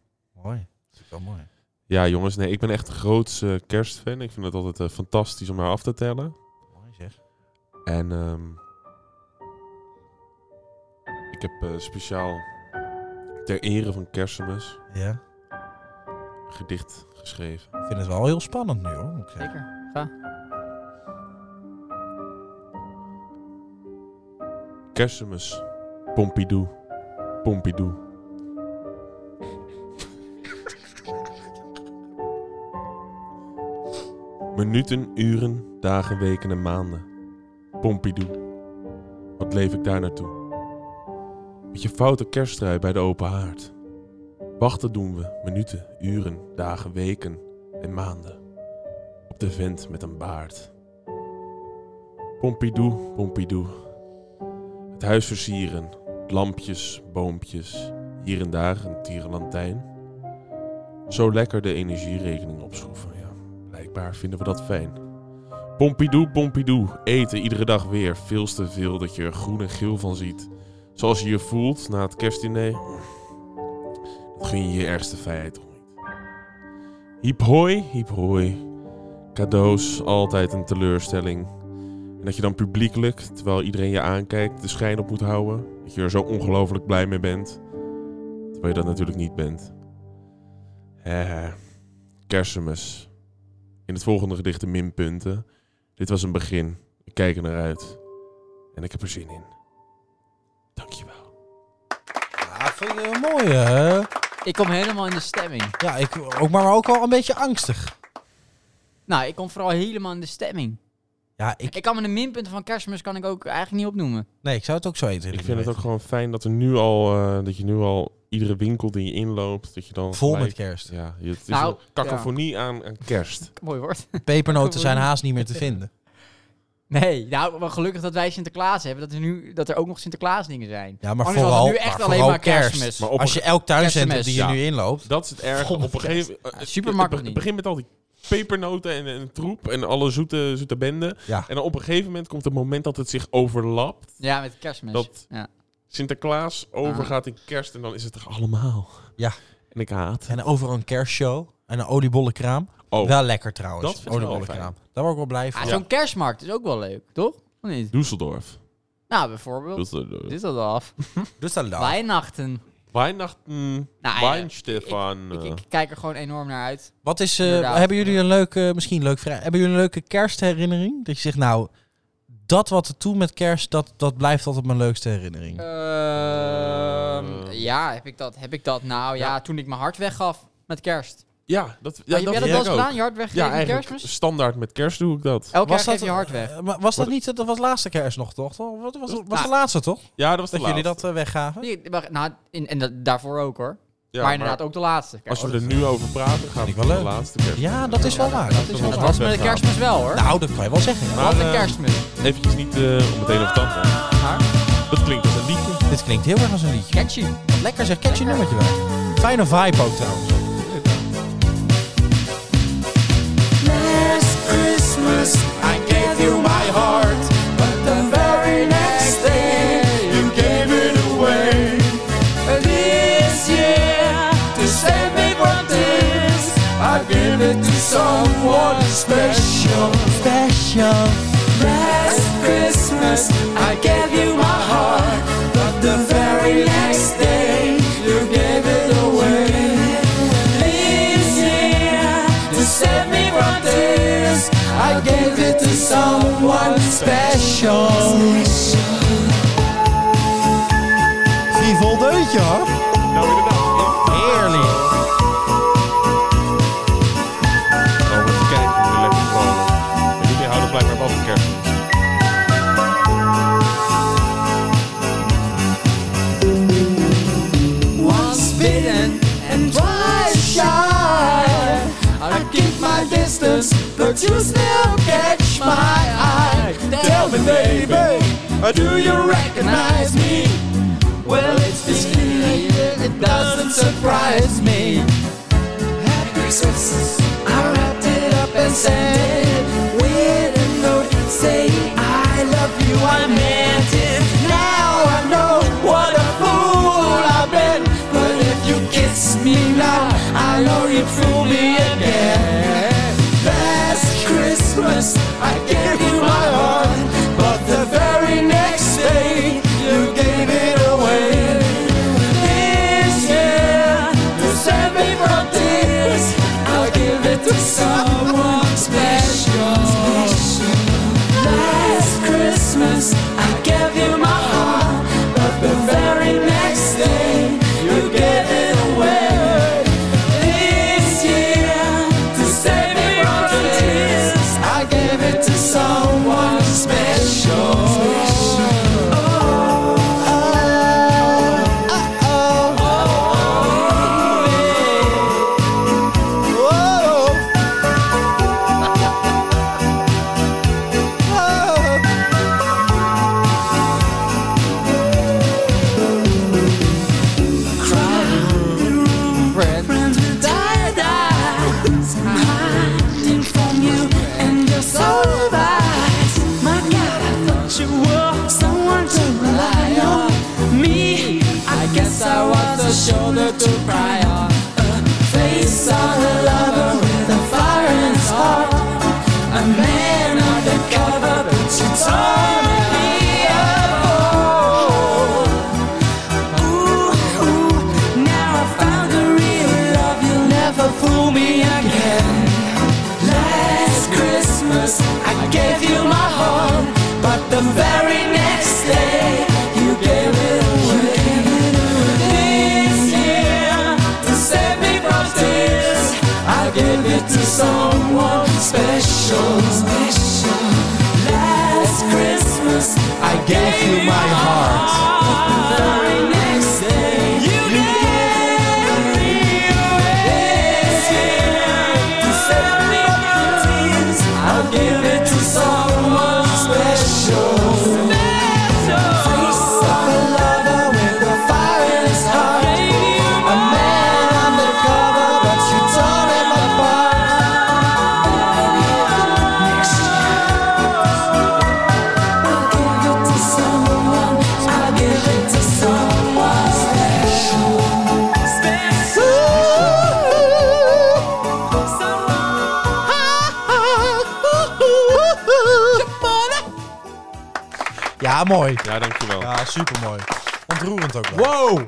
A: Mooi. Dat is wel mooi.
B: Ja, jongens, nee, ik ben echt een groot eh, kerstfan. Ik vind het altijd eh, fantastisch om haar af te tellen.
A: Mooi zeg.
B: En ehm, ik heb eh, speciaal ter ere van Kerstmis
A: Ja.
B: een gedicht geschreven.
A: Ik vind het wel heel spannend nu hoor. moet ik zeggen.
C: Zeker.
B: Kersemus. Pompidou. Pompidou. Minuten, uren, dagen, weken en maanden. Pompidou. Wat leef ik daar naartoe? Met je foute kersttrui bij de open haard. Wachten doen we minuten, uren, dagen, weken en maanden. Op de vent met een baard. Pompidou, Pompidou. Het huis versieren. Lampjes, boompjes. Hier en daar een tierenlantijn. Zo lekker de energierekening opschroeven, ja. Blijkbaar vinden we dat fijn. Pompidou, Pompidou. Eten iedere dag weer. Veel te veel dat je er groen en geel van ziet. Zoals je je voelt na het kerstdiner. Dat gun je je ergste vijand toch niet. Hiep hoi, hiep hoi. Cadeaus, altijd een teleurstelling. En dat je dan publiekelijk, terwijl iedereen je aankijkt, de schijn op moet houden. Dat je er zo ongelooflijk blij mee bent. Terwijl je dat natuurlijk niet bent. Eh, kersemis. In het volgende gedicht de minpunten. Dit was een begin. Ik kijk er naar uit. En ik heb er zin in. Dankjewel.
A: Ja, vond je een mooie. hè?
C: Ik kom helemaal in de stemming.
A: Ja, ik, ook, maar ook wel een beetje angstig.
C: Nou, ik kom vooral helemaal in de stemming.
A: Ja,
C: Ik,
A: ik,
C: kan me de minpunten van kerstmis kan ik ook eigenlijk niet opnoemen.
A: nee, ik zou het ook zo eten.
B: Ik vind het ook gewoon fijn dat, er nu al, eh, dat je nu al iedere winkel die je inloopt, dat je dan
A: Vol
B: gelijk-
A: met kerst.
B: Ja, het is
C: Nou,
B: een cacophonie aan, aan kerst.
C: Mooi woord.
A: Pepernoten zijn haast niet meer te vinden.
C: Nee, nou, maar gelukkig dat wij Sinterklaas hebben. Dat er, nu, dat er ook nog Sinterklaas dingen zijn.
A: Ja, maar
C: Anders was het
A: vooral,
C: Oh, nu echt
A: maar
C: alleen
A: vooral
C: maar
A: kerst.
C: kerstmis.
B: Maar op
A: Als
B: een-
A: je elk tuincentrum
C: Kerstmis,
A: die je
B: ja.
A: nu inloopt.
B: dat is het erg.
A: Vol
B: Op
A: met
B: een gegeven moment.
C: Ja, super
B: het
C: makkelijk
B: be-
C: niet.
B: begint met al die pepernoten en, en troep en alle zoete, zoete benden.
A: Ja.
B: En dan op een gegeven moment komt het moment dat het zich overlapt.
C: Ja, met kerstmis.
B: Dat-
C: Ja.
B: Sinterklaas overgaat in kerst en dan is het er allemaal.
A: Ja.
B: En ik haat.
A: En overal een kerstshow. En een oliebollenkraam.
B: Oh,
A: Wel lekker trouwens.
B: Dat vind ik wel
A: oliebollenkraam. Daar word ik wel blij van.
C: Ah, Zo'n kerstmarkt is ook wel leuk, toch? Of niet?
B: Düsseldorf.
C: Nou, bijvoorbeeld. Dit
B: Düsseldorf.
C: is dat al af.
A: Dus dan
B: Ah.
A: laat.
C: Weihnachten.
B: Weihnachten.
C: Nou, ja,
B: Weinstefan.
C: Ik, ik kijk er gewoon enorm naar uit.
A: Wat is, eh,
C: Inderdaad.
A: hebben jullie een leuke, misschien leuk vrij, hebben jullie een leuke kerstherinnering? Dat je zegt, nou, dat wat er toen met kerst, dat, dat blijft altijd mijn leukste herinnering.
C: Eh, Ehm, ja, heb ik dat? Heb ik dat? Nou ja,
B: Ja.
C: toen ik mijn hart weggaf met kerst.
B: Ja, dat, ja,
C: Ja, heb jij dat
B: vind
C: wel
B: ik
C: eens
B: ook.
C: gedaan? Je hart
B: Ja,
C: weggeven met
B: eigenlijk
C: kerstmis?
B: standaard met kerst doe ik dat.
C: Elke keer
A: dat,
C: geef je hart weg.
A: eh, maar was dat
B: Wordt-
A: niet, dat was laatste kerst nog, toch? Toch? Wat was, was
C: nou,
A: de laatste, toch?
B: Ja, dat was
A: Dat
B: de
A: jullie
B: laatste.
A: dat eh, weggaven?
C: Nee, maar, nou, in, en dat, daarvoor ook hoor.
B: Ja,
C: maar inderdaad ook de laatste. kerst.
B: Als we er nu over praten, gaan we
A: ik
B: wel
A: wel
B: de
A: leuk.
B: laatste kerst.
A: Ja, dat is wel waar. Dat is wel
C: dat
A: waar.
C: was met de kerstmis wel hoor.
A: Nou, dat kan je wel zeggen. ja.
B: Maar,
C: Wat een
B: eh,
C: kerstmis.
B: Eventjes niet eh, om meteen op dat. hè.
C: Maar,
B: Dat klinkt als een liedje.
A: Dit klinkt heel erg als een liedje.
C: catchy.
A: Lekker zeg, catchy nummertje wel. Fijne vibe ook trouwens.
E: Last Christmas, I gave you my heart, but the very next day, you gave it away. This year, to save me from tears, I give it to someone special.
A: Special.
E: Last Christmas, I gave you my heart, but the very next day, you gave it away. This year, to save me from tears, I gave it to someone special.
A: Frivol deuntje hoor.
B: Nou, inderdaad.
A: Heerlijk.
B: Oh, wat kijken. Weer lekker gewoon. En jullie houden blijkbaar wel van kerst.
E: Once bitten and twice shy. I keep my distance, but you still catch my eye. Tell me, baby, do you recognize me? Well, it's just clear it doesn't surprise me. Happy Christmas. I wrapped it up and sent it with a note saying I love you. I meant it. Now I know what a fool I've been. But if you kiss me now, I know you fool me again. Last Christmas I gave you my heart, but the very next day you gave it Yes, I was a shoulder to cry on. A face on a lover with a fire in his heart. A man undercover, but you told me a fool. Ooh, ooh, now I found the real love. You'll never fool me again. Last Christmas, I gave you my heart, but the very next day, you gave it away. This year, to save me from tears, I gave it to someone special. Special. Last Christmas, I gave you my heart. but the very next day, you gave it away. This year, to save me from tears, I gave it to someone special. Face of a lover with a fire in his heart. A man undercover, but you torn him apart. Next year, I'll give it to someone. I'll give it to someone special.
A: Ja, mooi.
B: Ja, dankjewel.
A: Ja, supermooi. Ontroerend ook wel.
C: Wow!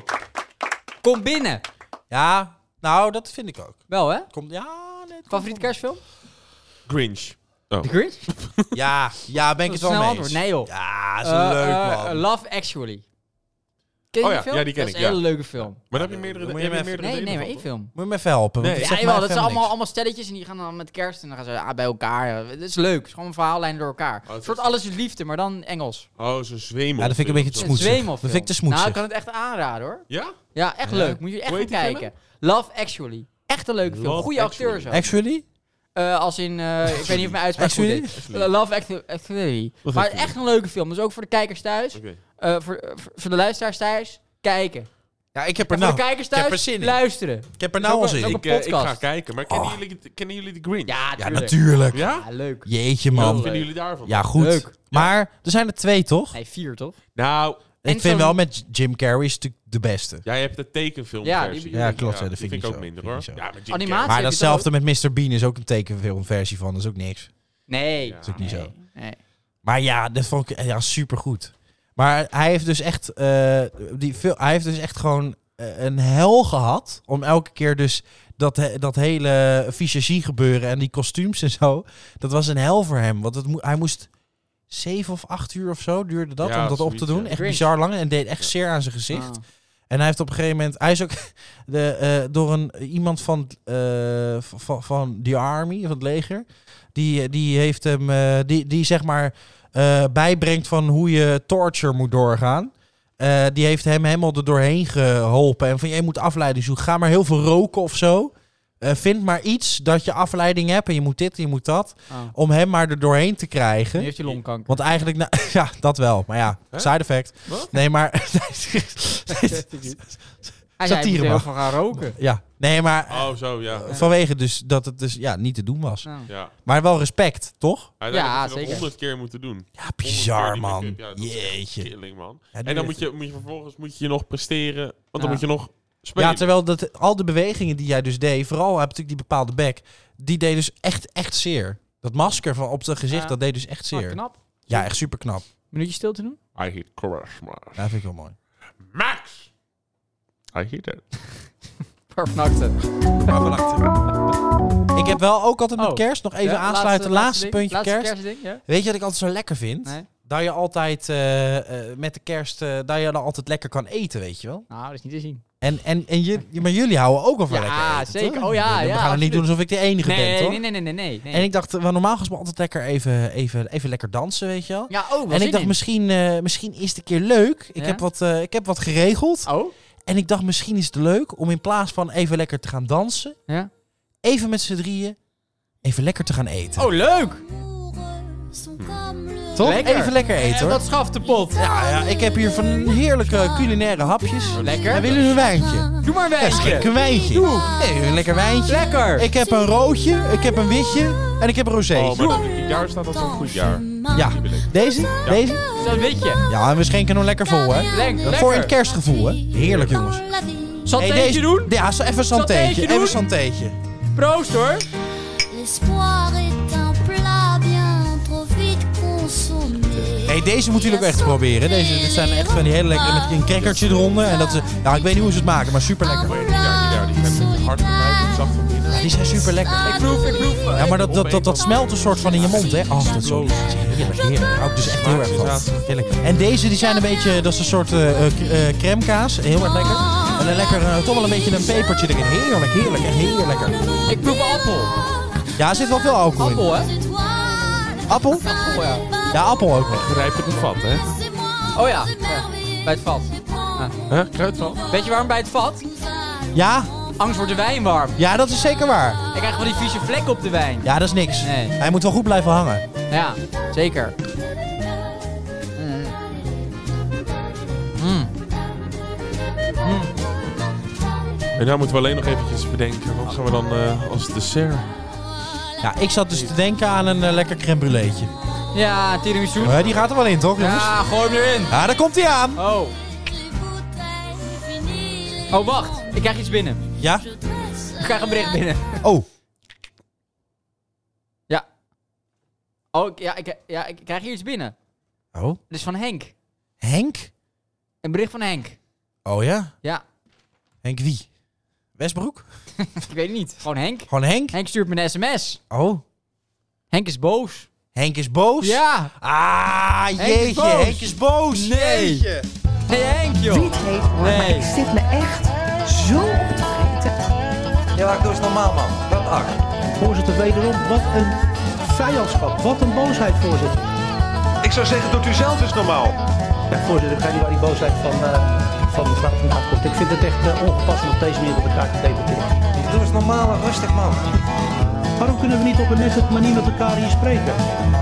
C: Kom binnen.
A: Ja, nou, dat vind ik ook.
C: Wel, hè?
A: Komt, ja, nee, het komt
C: Favoriete kerstfilm? Eh,
B: Grinch.
C: The Grinch?
A: wel. Ja, ja, ben ik
C: Dat
A: het
C: is
A: wel
C: snel
A: mee eens.
C: antwoord. Nee, joh.
A: Ja, is
C: Eh,
A: leuk,
C: eh,
A: man.
C: Love Actually. Ken je
B: Oh
C: die
B: ja,
C: film?
B: ja, die ken
C: dat
B: ik,
C: is
B: ja.
C: een hele leuke film.
B: Maar dan heb je meerdere,
A: Moet
B: heb
A: je
B: je
A: hem even-
B: meerdere
C: Nee,
B: delen
C: nee, maar
B: van,
C: één
B: toch?
C: film.
A: Moet je me even helpen? want
B: Nee.
A: het
C: Ja,
A: zegt
C: jawel,
A: mij
C: dat
A: verder
C: zijn allemaal,
A: niks.
C: allemaal stelletjes en die gaan dan met kerst en dan gaan ze ah, bij elkaar. Het is leuk. Het is gewoon een verhaallijn door elkaar.
B: Oh, het
C: een
B: is-
C: soort alles is liefde, maar dan Engels.
B: Oh, zo'n zweemel.
A: Ja, dat vind ik een beetje te
C: Een
A: smoetsig.
C: zweemel
A: Dat
C: film.
A: vind ik te smoetsig.
C: Nou, ik kan het echt aanraden hoor.
B: Ja?
C: Ja, echt leuk. Moet je echt
B: Hoe
C: gaan
B: heet die
C: kijken. Love Actually. Echt een leuke film.
B: Love
C: Goede acteurs zo.
A: Actually?
C: Eh, als in, eh, ik weet niet of mijn uitspraak goed
A: Actually?
C: is. Eh, Love Act- Actually. Maar
B: Actually.
C: echt een leuke film. Dus ook voor de kijkers thuis.
B: Oké.
C: eh, voor, eh, voor- voor de luisteraars thuis. Kijken.
A: Ja, ik heb
C: En
A: er
C: voor de
A: nou,
C: kijkers
A: ik heb er
C: thuis
A: zin in.
C: luisteren.
A: ik heb er
C: is
A: nou
C: ook
A: al
C: een-
A: zin
C: is ook
A: in.
B: Ik, eh, ik ga
C: podcast.
B: kijken, maar
A: Oh.
B: kennen, jullie, kennen jullie de Grinch?
C: Ja,
A: Ja,
C: tuurlijk.
A: natuurlijk.
B: Ja?
C: Ja, leuk.
A: Jeetje,
B: Wat
A: man.
B: vinden jullie daarvan?
A: Ja, goed.
C: Leuk.
A: Maar er zijn er twee, toch?
C: Nee, vier toch?
B: Nou,
A: Ik
C: En
A: vind
C: zo'n-
A: wel met Jim Carrey is natuurlijk de beste.
B: jij hebt de tekenfilm
C: Ja, die-
A: Ja, klopt, ja, dat vind ik
B: ik
A: niet
B: ook
A: zo.
B: minder
A: Vind
B: hoor.
A: ik niet zo.
B: Ja, maar Jim
C: Animatie.
A: Maar
C: heb je
A: datzelfde met Mr. Bean is ook een tekenfilmversie van. Dat is ook niks.
C: Nee.
B: Ja.
A: Dat is ook niet zo.
C: Nee.
A: Maar ja, dat vond ik ja, supergoed. Maar hij heeft dus echt, eh, die, fil- hij heeft dus echt gewoon eh, een hel gehad. Om elke keer dus dat, he- dat hele visagie gebeuren en die kostuums en zo. Dat was een hel voor hem. Want het mo- hij moest zeven of acht uur of zo duurde dat
B: Ja,
A: om dat op te
B: zoiets,
A: doen.
B: ja.
A: Echt
C: Cringe.
A: bizar lang. En deed echt zeer aan zijn gezicht.
C: Ah.
A: En hij heeft op een gegeven moment. Hij is ook de, eh, door een, iemand van, eh, van, van de Army, van het leger. Die, die heeft hem. eh, die, die zeg maar. eh, bijbrengt van hoe je torture moet doorgaan. Eh, die heeft hem helemaal er doorheen geholpen. En van je moet afleiding zoeken. Ga maar heel veel roken of zo. Eh, vind maar iets dat je afleiding hebt. En je moet dit en je moet dat.
C: Ah.
A: Om hem maar er doorheen te
C: Nu
A: krijgen.
C: heeft hij longkanker.
A: Want eigenlijk, nou, ja, dat wel. Maar ja,
B: Hè?
A: side effect.
B: Wat?
A: Nee, maar.
C: Hij zei,
A: satire Ah,
C: hij
A: mag.
C: moet heel veel gaan roken.
A: ja, nee, maar.
B: Oh, zo, ja.
A: Eh, Vanwege dus dat het dus ja, niet te doen was.
C: Nou.
B: Ja,
A: Maar wel respect, toch?
B: Uiteindelijk
C: Ja,
B: heb je dat
C: zeker.
B: honderd keer moeten doen.
A: Ja, bizar,
B: Honderd keer
A: man.
B: die make-up. Ja, dat is echt
A: Jeetje.
B: killing, man.
A: Ja,
B: En dan
A: duur.
B: moet je, moet je vervolgens moet je je nog presteren, want dan
C: Ja.
B: moet je nog spelen.
A: Ja, terwijl dat, al de bewegingen die jij dus deed, vooral heb natuurlijk die bepaalde bek, die deed dus echt, echt zeer. Dat masker van op zijn gezicht,
C: Ja.
A: dat deed dus echt
C: Ah,
A: zeer.
C: knap.
A: Ja, echt super knap.
C: Minuutje stil te doen?
B: I hate charisma.
A: Ja, vind ik wel mooi.
B: Max! I hate that.
C: Parfnakten.
A: Maar van achter. Ik heb wel ook altijd met
C: Oh.
A: kerst, nog even aansluiten, laatste, puntje kerst.
C: kerstding, ja.
A: Weet je wat ik altijd zo lekker vind?
C: Nee.
A: Dat je altijd eh, eh, met de kerst, eh, dat je dan altijd lekker kan eten, weet je wel?
C: Nou, dat is niet te zien.
A: En, en, en je, maar jullie houden ook al van
C: Ja,
A: lekker eten,
C: zeker.
A: toch?
C: Oh ja,
A: We
C: ja,
A: gaan het niet
C: absoluut.
A: doen alsof ik de enige ben, toch?
C: nee, nee, nee, nee, nee, nee.
A: En ik dacht, wel, normaal gesproken altijd lekker even, even, even lekker dansen, weet je wel.
C: ja, oh,
A: en ik dacht, misschien, eh, misschien is het een keer leuk. Ik,
C: Ja?
A: heb wat, eh, ik heb wat geregeld.
C: Oh?
A: En ik dacht, misschien is het leuk om in plaats van even lekker te gaan dansen...
C: Ja.
A: even met z'n drieën even lekker te gaan eten.
C: Oh, leuk!
F: amoureux sont comme le
A: Toch?
C: Lekker.
A: Even lekker eten
C: En
A: hoor.
C: wat schaft de pot?
A: Ja, ja, ik heb hier van heerlijke culinaire hapjes.
C: Lekker.
A: En willen jullie een wijntje?
C: Doe maar een
A: Ja,
C: wijntje.
A: schenk een wijntje. Nee, een lekker wijntje.
C: Lekker.
A: Ik heb een roodje, ik heb een witje en ik heb een rosé.
B: Oh, maar dat, dit jaar staat als een goed jaar.
A: ja,
B: wil ik.
A: deze? Deze?
C: Dat weet je.
A: Ja, en we schenken hem lekker vol, hè?
C: Lenk, lekker.
A: Voor een kerstgevoel, hè? Heerlijk, jongens.
C: Zal
A: Hey,
C: het eentje doen?
A: Ja, zo- even een
C: Satéetje
A: santeetje. Even
C: doen?
A: een santeetje.
C: Proost hoor.
G: L'espoir est un plat bien trop vite consommé.
A: Hey, deze moeten jullie ook echt proberen. Deze, dit zijn echt van die hele lekkere... Met een crackertje eronder. En dat is, nou, ik weet niet hoe ze het maken, maar super lekker.
B: Nee, die daar, die daar. Die zijn een beetje hard van buiten, zacht van binnen.
A: Die zijn super lekker.
C: Ik proef, ik proef.
A: Ja, maar dat, dat, dat, dat smelt een soort van in je mond, hè? Oh, dat is zo heerlijk, heerlijk. Daar hou ik dus echt heel erg van. Heerlijk. En deze, die zijn een beetje... Dat is een soort eh, eh, cr- eh, crème kaas. Heel erg lekker. En een lekker, eh, toch wel een beetje een pepertje erin. Heerlijk, heerlijk. Echt heel lekker.
C: Ik proef een appel.
A: Ja, er zit wel veel alcohol in.
C: Appel hè?
A: Appel? Oh, Ja, appel ook nog.
B: Grijp het een vat, hè?
C: Oh ja. ja. Bij het vat.
B: Huh? Kruidvat?
C: Weet je waarom bij het vat?
A: Ja?
C: Angst wordt de wijn warm.
A: Ja, dat is zeker waar.
C: Ik krijg wel die vieze vlek op de wijn.
A: Ja, dat is niks.
C: Nee.
A: Hij moet wel goed blijven hangen.
C: Ja, zeker.
B: En nou moeten we alleen nog eventjes bedenken. Wat gaan we dan eh, als dessert?
A: Ja, ik zat dus te denken aan een eh, lekker crème brûléetje.
C: Ja, tiramisu.
A: Eh, die gaat er wel in, toch, jongens? Ja,
C: Ja, gooi hem erin.
A: daar komt hij aan.
C: Oh. Oh, wacht. Ik krijg iets binnen.
A: Ja?
C: Ik krijg een bericht binnen.
A: Oh,
C: Ja. Oh, ik- ja, ik, ja, ik krijg hier iets binnen.
A: Oh.
C: Het is van Henk.
A: Henk?
C: Een bericht van Henk.
A: Oh ja?
C: Ja,
A: Henk wie? Westbroek?
C: ik weet het niet. Gewoon Henk.
A: Gewoon Henk?
C: Henk stuurt me een sms.
A: Oh.
C: Henk is boos.
A: Henk is boos?
C: Ja.
A: Ah,
C: is
A: jeetje. Henk is boos.
C: boos. Nee.
A: Jeetje.
C: Hey Henk, joh.
H: Dit heet hoor, maar
C: Nee.
H: ik zit me echt zo op te vreten.
I: Voorzitter, wederom, wat een vijandschap. Wat een boosheid, voorzitter.
J: Ik zou zeggen, doet u zelf eens normaal.
I: Ja, voorzitter, ik weet niet waar die boosheid van, eh, van mevrouw vandaan komt. Ik vind het echt eh, ongepast om op deze manier met elkaar te debatteren.
J: Doe eens normaal en rustig, man.
I: Waarom kunnen we niet op een nette manier met elkaar hier spreken?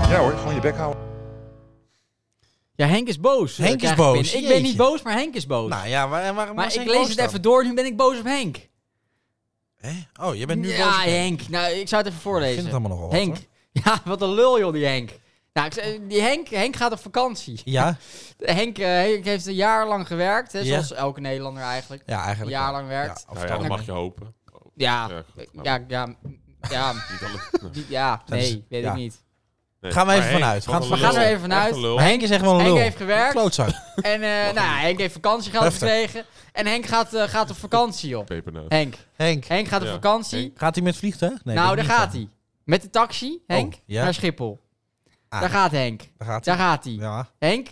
J: Ja hoor, gewoon je bek houden.
C: Ja, Henk is boos.
A: Henk
C: Dat
A: is
C: krijg ik
A: boos.
C: binnen. Ik ben
A: Jeetje.
C: niet boos, maar Henk is boos.
A: Nou ja, waar, en waarom
C: maar
A: was
C: ik
A: Henk
C: lees
A: boos
C: het
A: dan?
C: even door. Nu ben ik boos op Henk.
A: Hè? Oh, je bent nu
C: ja,
A: boos. op Henk.
C: Henk. Nou, ik zou het even
A: Ik
C: voorlezen.
A: vind het allemaal nogal wat,
C: Henk.
A: hoor.
C: Ja, wat een lul joh, die Henk. Nou, ik zei, die Henk, Henk gaat op vakantie.
A: Ja?
C: Henk, eh, Henk heeft een jaar lang gewerkt, hè,
A: Ja.
C: zoals elke Nederlander eigenlijk.
A: Ja,
C: Een
A: eigenlijk
C: jaar
A: wel.
C: lang werkt.
A: Ja,
B: Nou ja, dat mag je hopen.
C: Ja, ja,
B: goed, nou,
C: ja, ja, ja,
B: niet alle-
C: die- ja,
A: Dat is-
C: nee, weet
A: ja.
C: ik niet.
B: Nee.
A: Gaan we
B: Maar
A: even
B: Henk,
A: vanuit. We
B: wat
A: gaan-
B: een
A: we
B: lul.
C: gaan er even
B: Echt een
C: vanuit.
B: lul.
A: Maar Henk is echt wel een
C: Henk
A: lul.
C: heeft gewerkt.
A: Klootzak.
C: En eh, nou, ja, Henk heeft vakantiegeld
A: Heftig.
C: gekregen. En Henk gaat, eh, gaat op vakantie, joh.
B: Pepernoot.
C: Henk.
A: Henk.
C: Henk gaat op
B: Ja,
C: vakantie.
B: Henk.
A: Gaat hij met vliegtuig? Nee,
C: nou,
A: dat
C: daar
A: niet,
C: gaat
A: hè?
C: hij. Met de taxi, Henk,
A: ja.
C: naar Schiphol.
A: Ah.
C: Daar gaat Henk.
A: Daar gaat
C: Daar
A: hij.
C: gaat hij.
A: Ja.
C: Henk,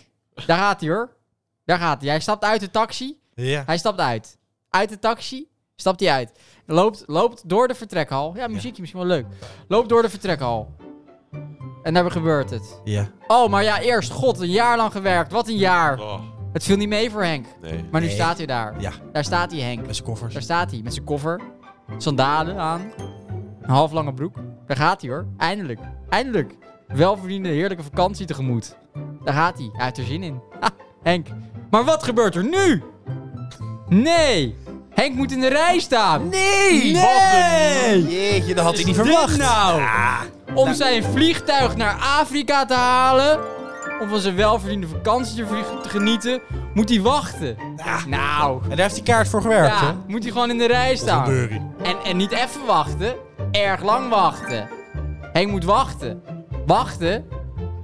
C: daar gaat hij hoor. Daar gaat hij. Hij stapt uit de taxi.
A: Ja.
C: Hij stapt uit. Uit de taxi stapt hij uit. Loopt, loopt door de vertrekhal. Ja, muziekje misschien wel leuk. Loopt door de vertrekhal. En daar gebeurt het.
A: Ja.
C: Oh, maar ja, eerst. God, een jaar lang gewerkt. Wat een jaar.
B: Oh,
C: Het viel niet mee voor Henk.
B: nee.
C: Maar nu
A: Nee.
C: staat hij daar.
A: Ja.
C: Daar staat hij, Henk.
A: Met zijn koffers.
C: Daar staat hij met zijn koffer, sandalen aan, een half lange broek. Daar gaat hij hoor. Eindelijk. Eindelijk. Welverdiende heerlijke vakantie tegemoet. Daar gaat hij. Hij heeft er zin in. Ha, Henk. Maar wat gebeurt er nu? Nee. Henk moet in de rij staan.
A: Nee!
C: Nee!
A: Jeetje, dat had hij niet
C: Dit
A: verwacht.
C: nou. Om zijn vliegtuig naar Afrika te halen. Om van zijn welverdiende vakantie te vliegen- te genieten. Moet hij wachten. Nou.
A: En daar heeft hij kaart voor gewerkt,
C: Ja,
A: hoor.
C: moet hij gewoon in de rij staan.
A: Burry.
C: En, en niet even wachten, erg lang wachten. Henk moet wachten. Wachten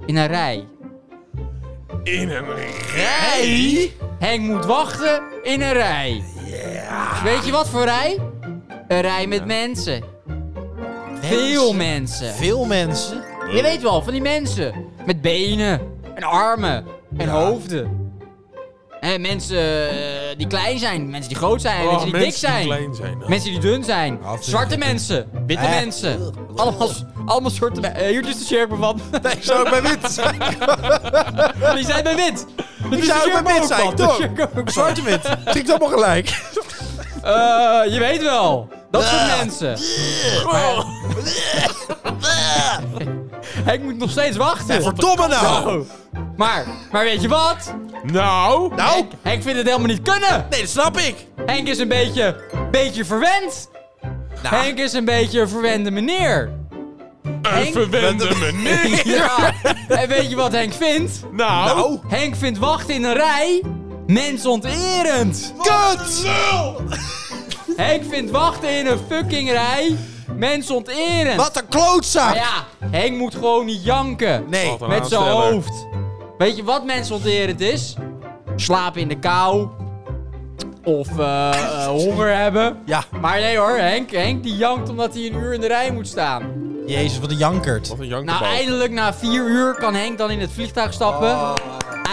C: in een rij.
B: In een rij.
C: Rij? Henk moet wachten in een rij. Dus Weet je wat voor rij? Een rij met mensen. Veel mensen.
A: Veel mensen.
C: Je weet wel, van die mensen. Met benen en armen en hoofden. En mensen eh, die klein zijn, mensen die groot zijn, en
B: Oh,
C: mensen die dik zijn.
B: klein zijn. Oh.
C: Mensen die dun zijn.
A: Ja, of-
C: Zwarte mensen. Witte
A: Eh.
C: mensen. Allemaal, allemaal soorten... me- eh, hier is de sjerp van.
A: Zou ik bij wit zijn?
C: die zijn bij wit. Dus Die
A: Ik zou ook bij wit zijn, toch? Zwarte wit. Klinkt allemaal gelijk.
C: Eh, je weet wel. Dat soort mensen. Maar- Henk moet nog steeds wachten.
A: Verdomme nou!
C: Zo. Maar, maar weet je wat?
B: Nou,
A: Nou,
C: Henk, Henk vindt het helemaal niet kunnen.
A: nee, dat snap ik.
C: Henk is een beetje, beetje verwend.
A: Nou.
C: Henk is een beetje een verwende meneer.
B: een verwende
C: Nou.
B: meneer.
C: Ja. En weet je wat Henk vindt?
B: Nou,
C: Henk vindt wachten in een rij mensonterend.
A: Kut!
C: Henk vindt wachten in een fucking rij mensonterend.
A: Wat een klootzak!
C: Maar ja, Henk moet gewoon niet janken.
A: Nee,
B: Wat een
C: Met zijn
B: aansteller.
C: hoofd. Weet je wat mensonterend is? Slapen in de kou. Of eh, eh, honger hebben.
A: ja,
C: Maar nee hoor, Henk, Henk die jankt omdat hij een uur in de rij moet staan.
A: jezus, wat een jankert.
B: Wat een
C: Nou,
B: jankenbal.
C: eindelijk na vier uur kan Henk dan in het vliegtuig stappen.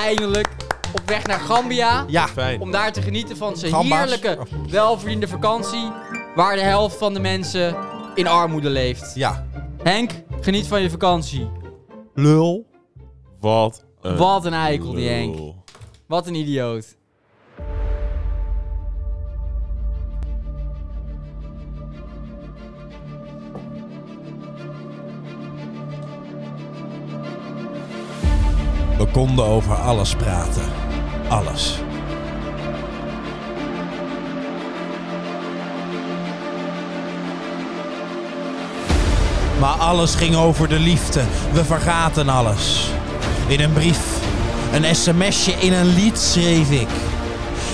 C: Eindelijk op weg naar Gambia.
A: Oh. Ja,
B: Fijn.
C: Om daar te genieten van zijn
A: Gamba's.
C: heerlijke, welverdiende vakantie. Waar de helft van de mensen in armoede leeft.
A: ja.
C: Henk, geniet van je vakantie.
A: Lul.
B: Wat een
C: Wat een eikel die
B: lul.
C: Henk. Wat een idioot.
A: We konden over alles praten. Alles. Maar alles ging over de liefde. We vergaten alles. In een brief, een sms'je, in een lied schreef ik.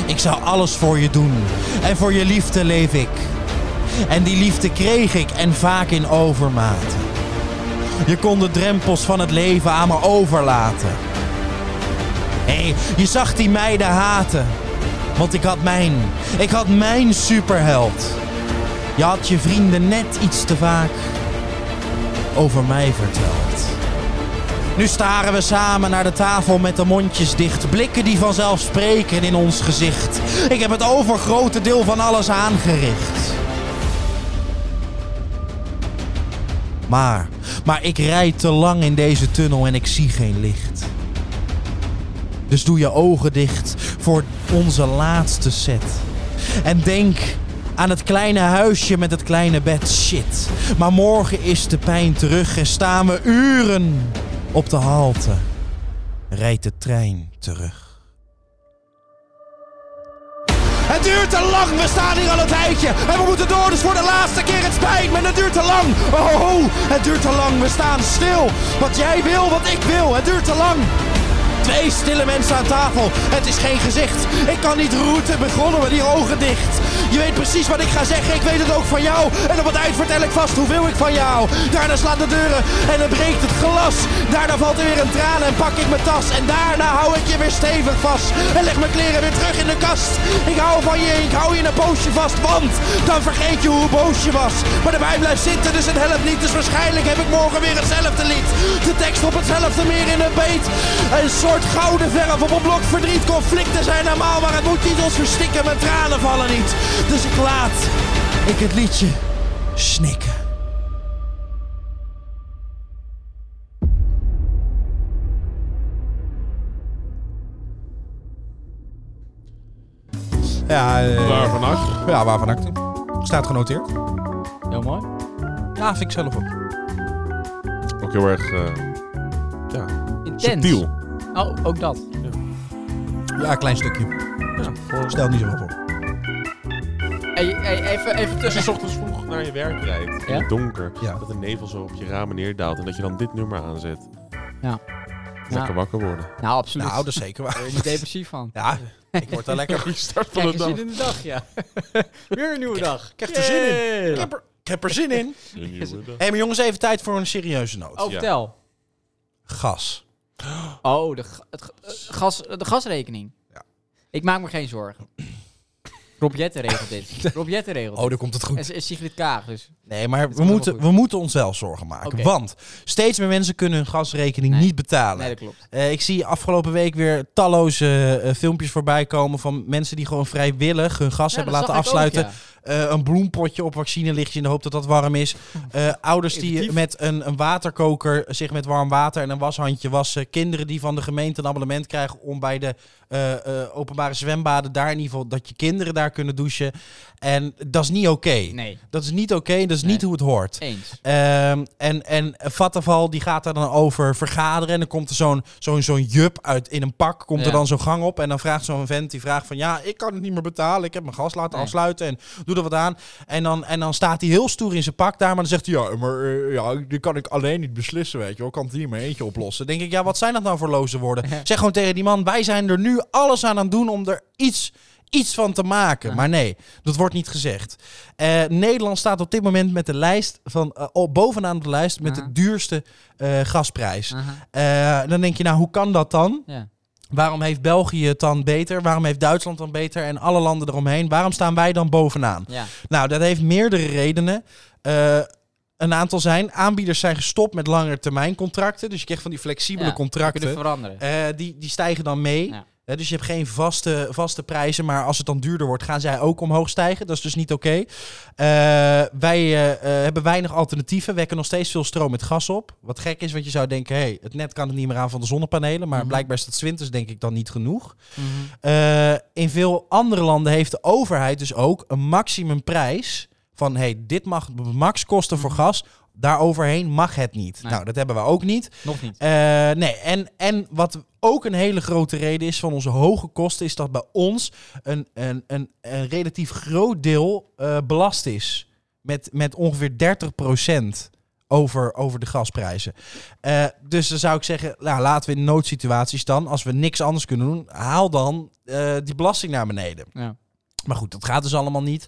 A: Ik zou alles voor je doen. En voor je liefde leef ik. En die liefde kreeg ik en vaak in overmaat. Je kon de drempels van het leven aan me overlaten. Hé, je zag die meiden haten. Want ik had mijn, ik had mijn superheld. Je had je vrienden net iets te vaak over mij verteld. Nu staren we samen naar de tafel met de mondjes dicht. Blikken die vanzelf spreken in ons gezicht. Ik heb het overgrote deel van alles aangericht. Maar, maar ik rijd te lang in deze tunnel en ik zie geen licht. Dus doe je ogen dicht voor onze laatste set. En denk aan het kleine huisje met het kleine bed. Shit. Maar morgen is de pijn terug en staan we uren op de halte. Rijdt de trein terug. Het duurt te lang, we staan hier al een tijdje. En we moeten door, dus voor de laatste keer het spijt me. Het duurt te lang. Oh, ho, ho, het duurt te lang, we staan stil. Wat jij wil, wat ik wil, het duurt te lang. Twee stille mensen aan tafel. Het is geen gezicht. Ik kan niet roeten. Begonnen we die ogen dicht. Je weet precies wat ik ga zeggen. Ik weet het ook van jou. En op het eind vertel ik vast hoeveel ik van jou. Daarna slaat de deuren en dan breekt het glas. Daarna valt er weer een traan en pak ik mijn tas. En daarna hou ik je weer stevig vast. En leg mijn kleren weer terug in de kast. Ik hou van je. Ik hou je een poosje vast. Want dan vergeet je hoe boos je was. Maar de wijn blijft zitten, dus het helpt niet. Dus waarschijnlijk heb ik morgen weer hetzelfde lied. De tekst op hetzelfde meer in een beet. Een soort gouden verf op een blok verdriet. Conflicten zijn normaal, maar het moet niet ons verstikken. Mijn tranen vallen niet. Dus ik laat ik het liedje snikken. Ja, eh,
B: Waar van achter?
A: ja, waarvan acte? Staat genoteerd.
C: Heel mooi.
A: Ja, vind ik zelf ook.
B: Ook heel erg eh ja,
C: Intens.
B: subtiel.
C: Oh, ook dat.
A: Ja, een klein stukje.
B: Ja, voor
A: Stel niet Nou, zo op.
C: Hey, hey, even, even
B: Als je
C: tussen.
B: ochtends vroeg naar je werk rijdt, in
C: Ja?
B: het donker,
A: Ja.
B: dat de nevel zo op je ramen neerdaalt en dat je dan dit nummer aanzet.
C: Ja.
B: Lekker
C: Ja.
B: wakker worden.
C: Nou, absoluut.
A: Nou, dat is zeker waar.
C: Daar word je depressief van.
A: Ja, ik word daar lekker...
B: Goeie start van de
C: Kijk, je
B: dag.
C: ziet in de dag, ja. Weer een nieuwe dag. Ik
A: krijg er zin in. Ik heb, er, ik heb er zin in. Hé,
B: Een nieuwe dag.
A: maar jongens, even tijd voor een serieuze noot.
C: Oh,
B: Ja.
C: vertel.
A: Gas.
C: Oh, de, ga- het, ga- eh, gas, de gasrekening.
A: Ja.
C: Ik maak me geen zorgen. Rob Jetten regelt dit. Rob Jetten regelt
A: Oh, daar komt het
C: dit.
A: goed.
C: En is Sigrid Kaag, dus...
A: Nee, maar
C: is
A: we
C: wel
A: moeten,
C: goed.
A: we moeten onszelf zorgen maken.
C: Oké.
A: Want steeds meer mensen kunnen hun gasrekening
C: Nee.
A: niet betalen.
C: Nee, dat klopt.
A: Eh, ik zie afgelopen week weer talloze eh, filmpjes voorbij komen van mensen die gewoon vrijwillig hun gas
C: Ja,
A: hebben
C: dat
A: laten
C: zag ik ook,
A: afsluiten.
C: ja.
A: eh, een bloempotje op vaccinelichtje in de hoop dat dat warm is. Eh, ouders die
C: Effectief.
A: met een, een waterkoker zich met warm water en een washandje wassen. Kinderen die van de gemeente een abonnement krijgen om bij de eh, eh, openbare zwembaden daar in ieder geval dat je kinderen daar kunnen douchen. En dat is niet oké.
C: Nee,
A: Dat is niet oké en dat is
C: Nee.
A: niet hoe het hoort.
C: eens.
A: Ehm, en, en Vattenval die gaat daar dan over vergaderen. En dan komt er zo'n zo'n zo'n jup uit in een pak. Komt er
C: Ja.
A: dan zo'n gang op. En dan vraagt zo'n vent die vraagt van ja, ik kan het niet meer betalen. Ik heb mijn gas laten
C: Nee.
A: afsluiten. En doe er wat aan. En dan, en dan staat hij heel stoer in zijn pak daar. Maar dan zegt hij ja, maar eh, ja, die kan ik alleen niet beslissen. Weet je wel, Ik kan het hier maar eentje oplossen. Dan denk ik ja, wat zijn dat nou voor loze woorden?
C: Ja.
A: Zeg gewoon tegen die man, wij zijn er nu alles aan aan het doen om er iets. Iets van te maken.
C: Ja.
A: Maar nee, dat wordt niet gezegd. Eh, Nederland staat op dit moment met de lijst van, eh, oh, bovenaan op de lijst met
C: Aha.
A: de duurste eh, gasprijs.
C: Aha.
A: Eh, dan denk je, nou, hoe kan dat dan?
C: Ja.
A: Waarom heeft België het dan beter? Waarom heeft Duitsland dan beter? En alle landen eromheen. Waarom staan wij dan bovenaan?
C: Ja.
A: Nou, dat heeft meerdere redenen. Eh, een aantal zijn, aanbieders zijn gestopt met langere termijn contracten. Dus je krijgt van die flexibele
C: Ja,
A: contracten.
C: Kunnen veranderen.
A: Eh, die, die stijgen dan mee.
C: Ja.
A: Eh, dus je hebt geen vaste, vaste prijzen, maar als het dan duurder wordt, gaan zij ook omhoog stijgen. Dat is dus niet oké. Eh, wij eh, eh, hebben weinig alternatieven, wekken nog steeds veel stroom met gas op. Wat gek is, want je zou denken, hey, het net kan het niet meer aan van de zonnepanelen. Maar
C: Mhm.
A: blijkbaar is dat 's winters denk ik dan niet genoeg.
C: Mhm.
A: Eh, in veel andere landen heeft de overheid dus ook een maximumprijs van hey, dit mag max kosten voor gas. Daaroverheen mag het niet.
C: Mhm. Nee.
A: Nou, dat hebben we ook niet.
C: Nog niet.
A: Eh, nee, en, en wat ook een hele grote reden is van onze hoge kosten, is dat bij ons een, een, een, een relatief groot deel eh, belast is. Met, met ongeveer 30% over, over de gasprijzen. Eh, dus dan zou ik zeggen, nou, laten we in noodsituaties dan, als we niks anders kunnen doen, haal dan eh, die belasting naar beneden.
C: Ja.
A: Maar goed, dat gaat dus allemaal niet.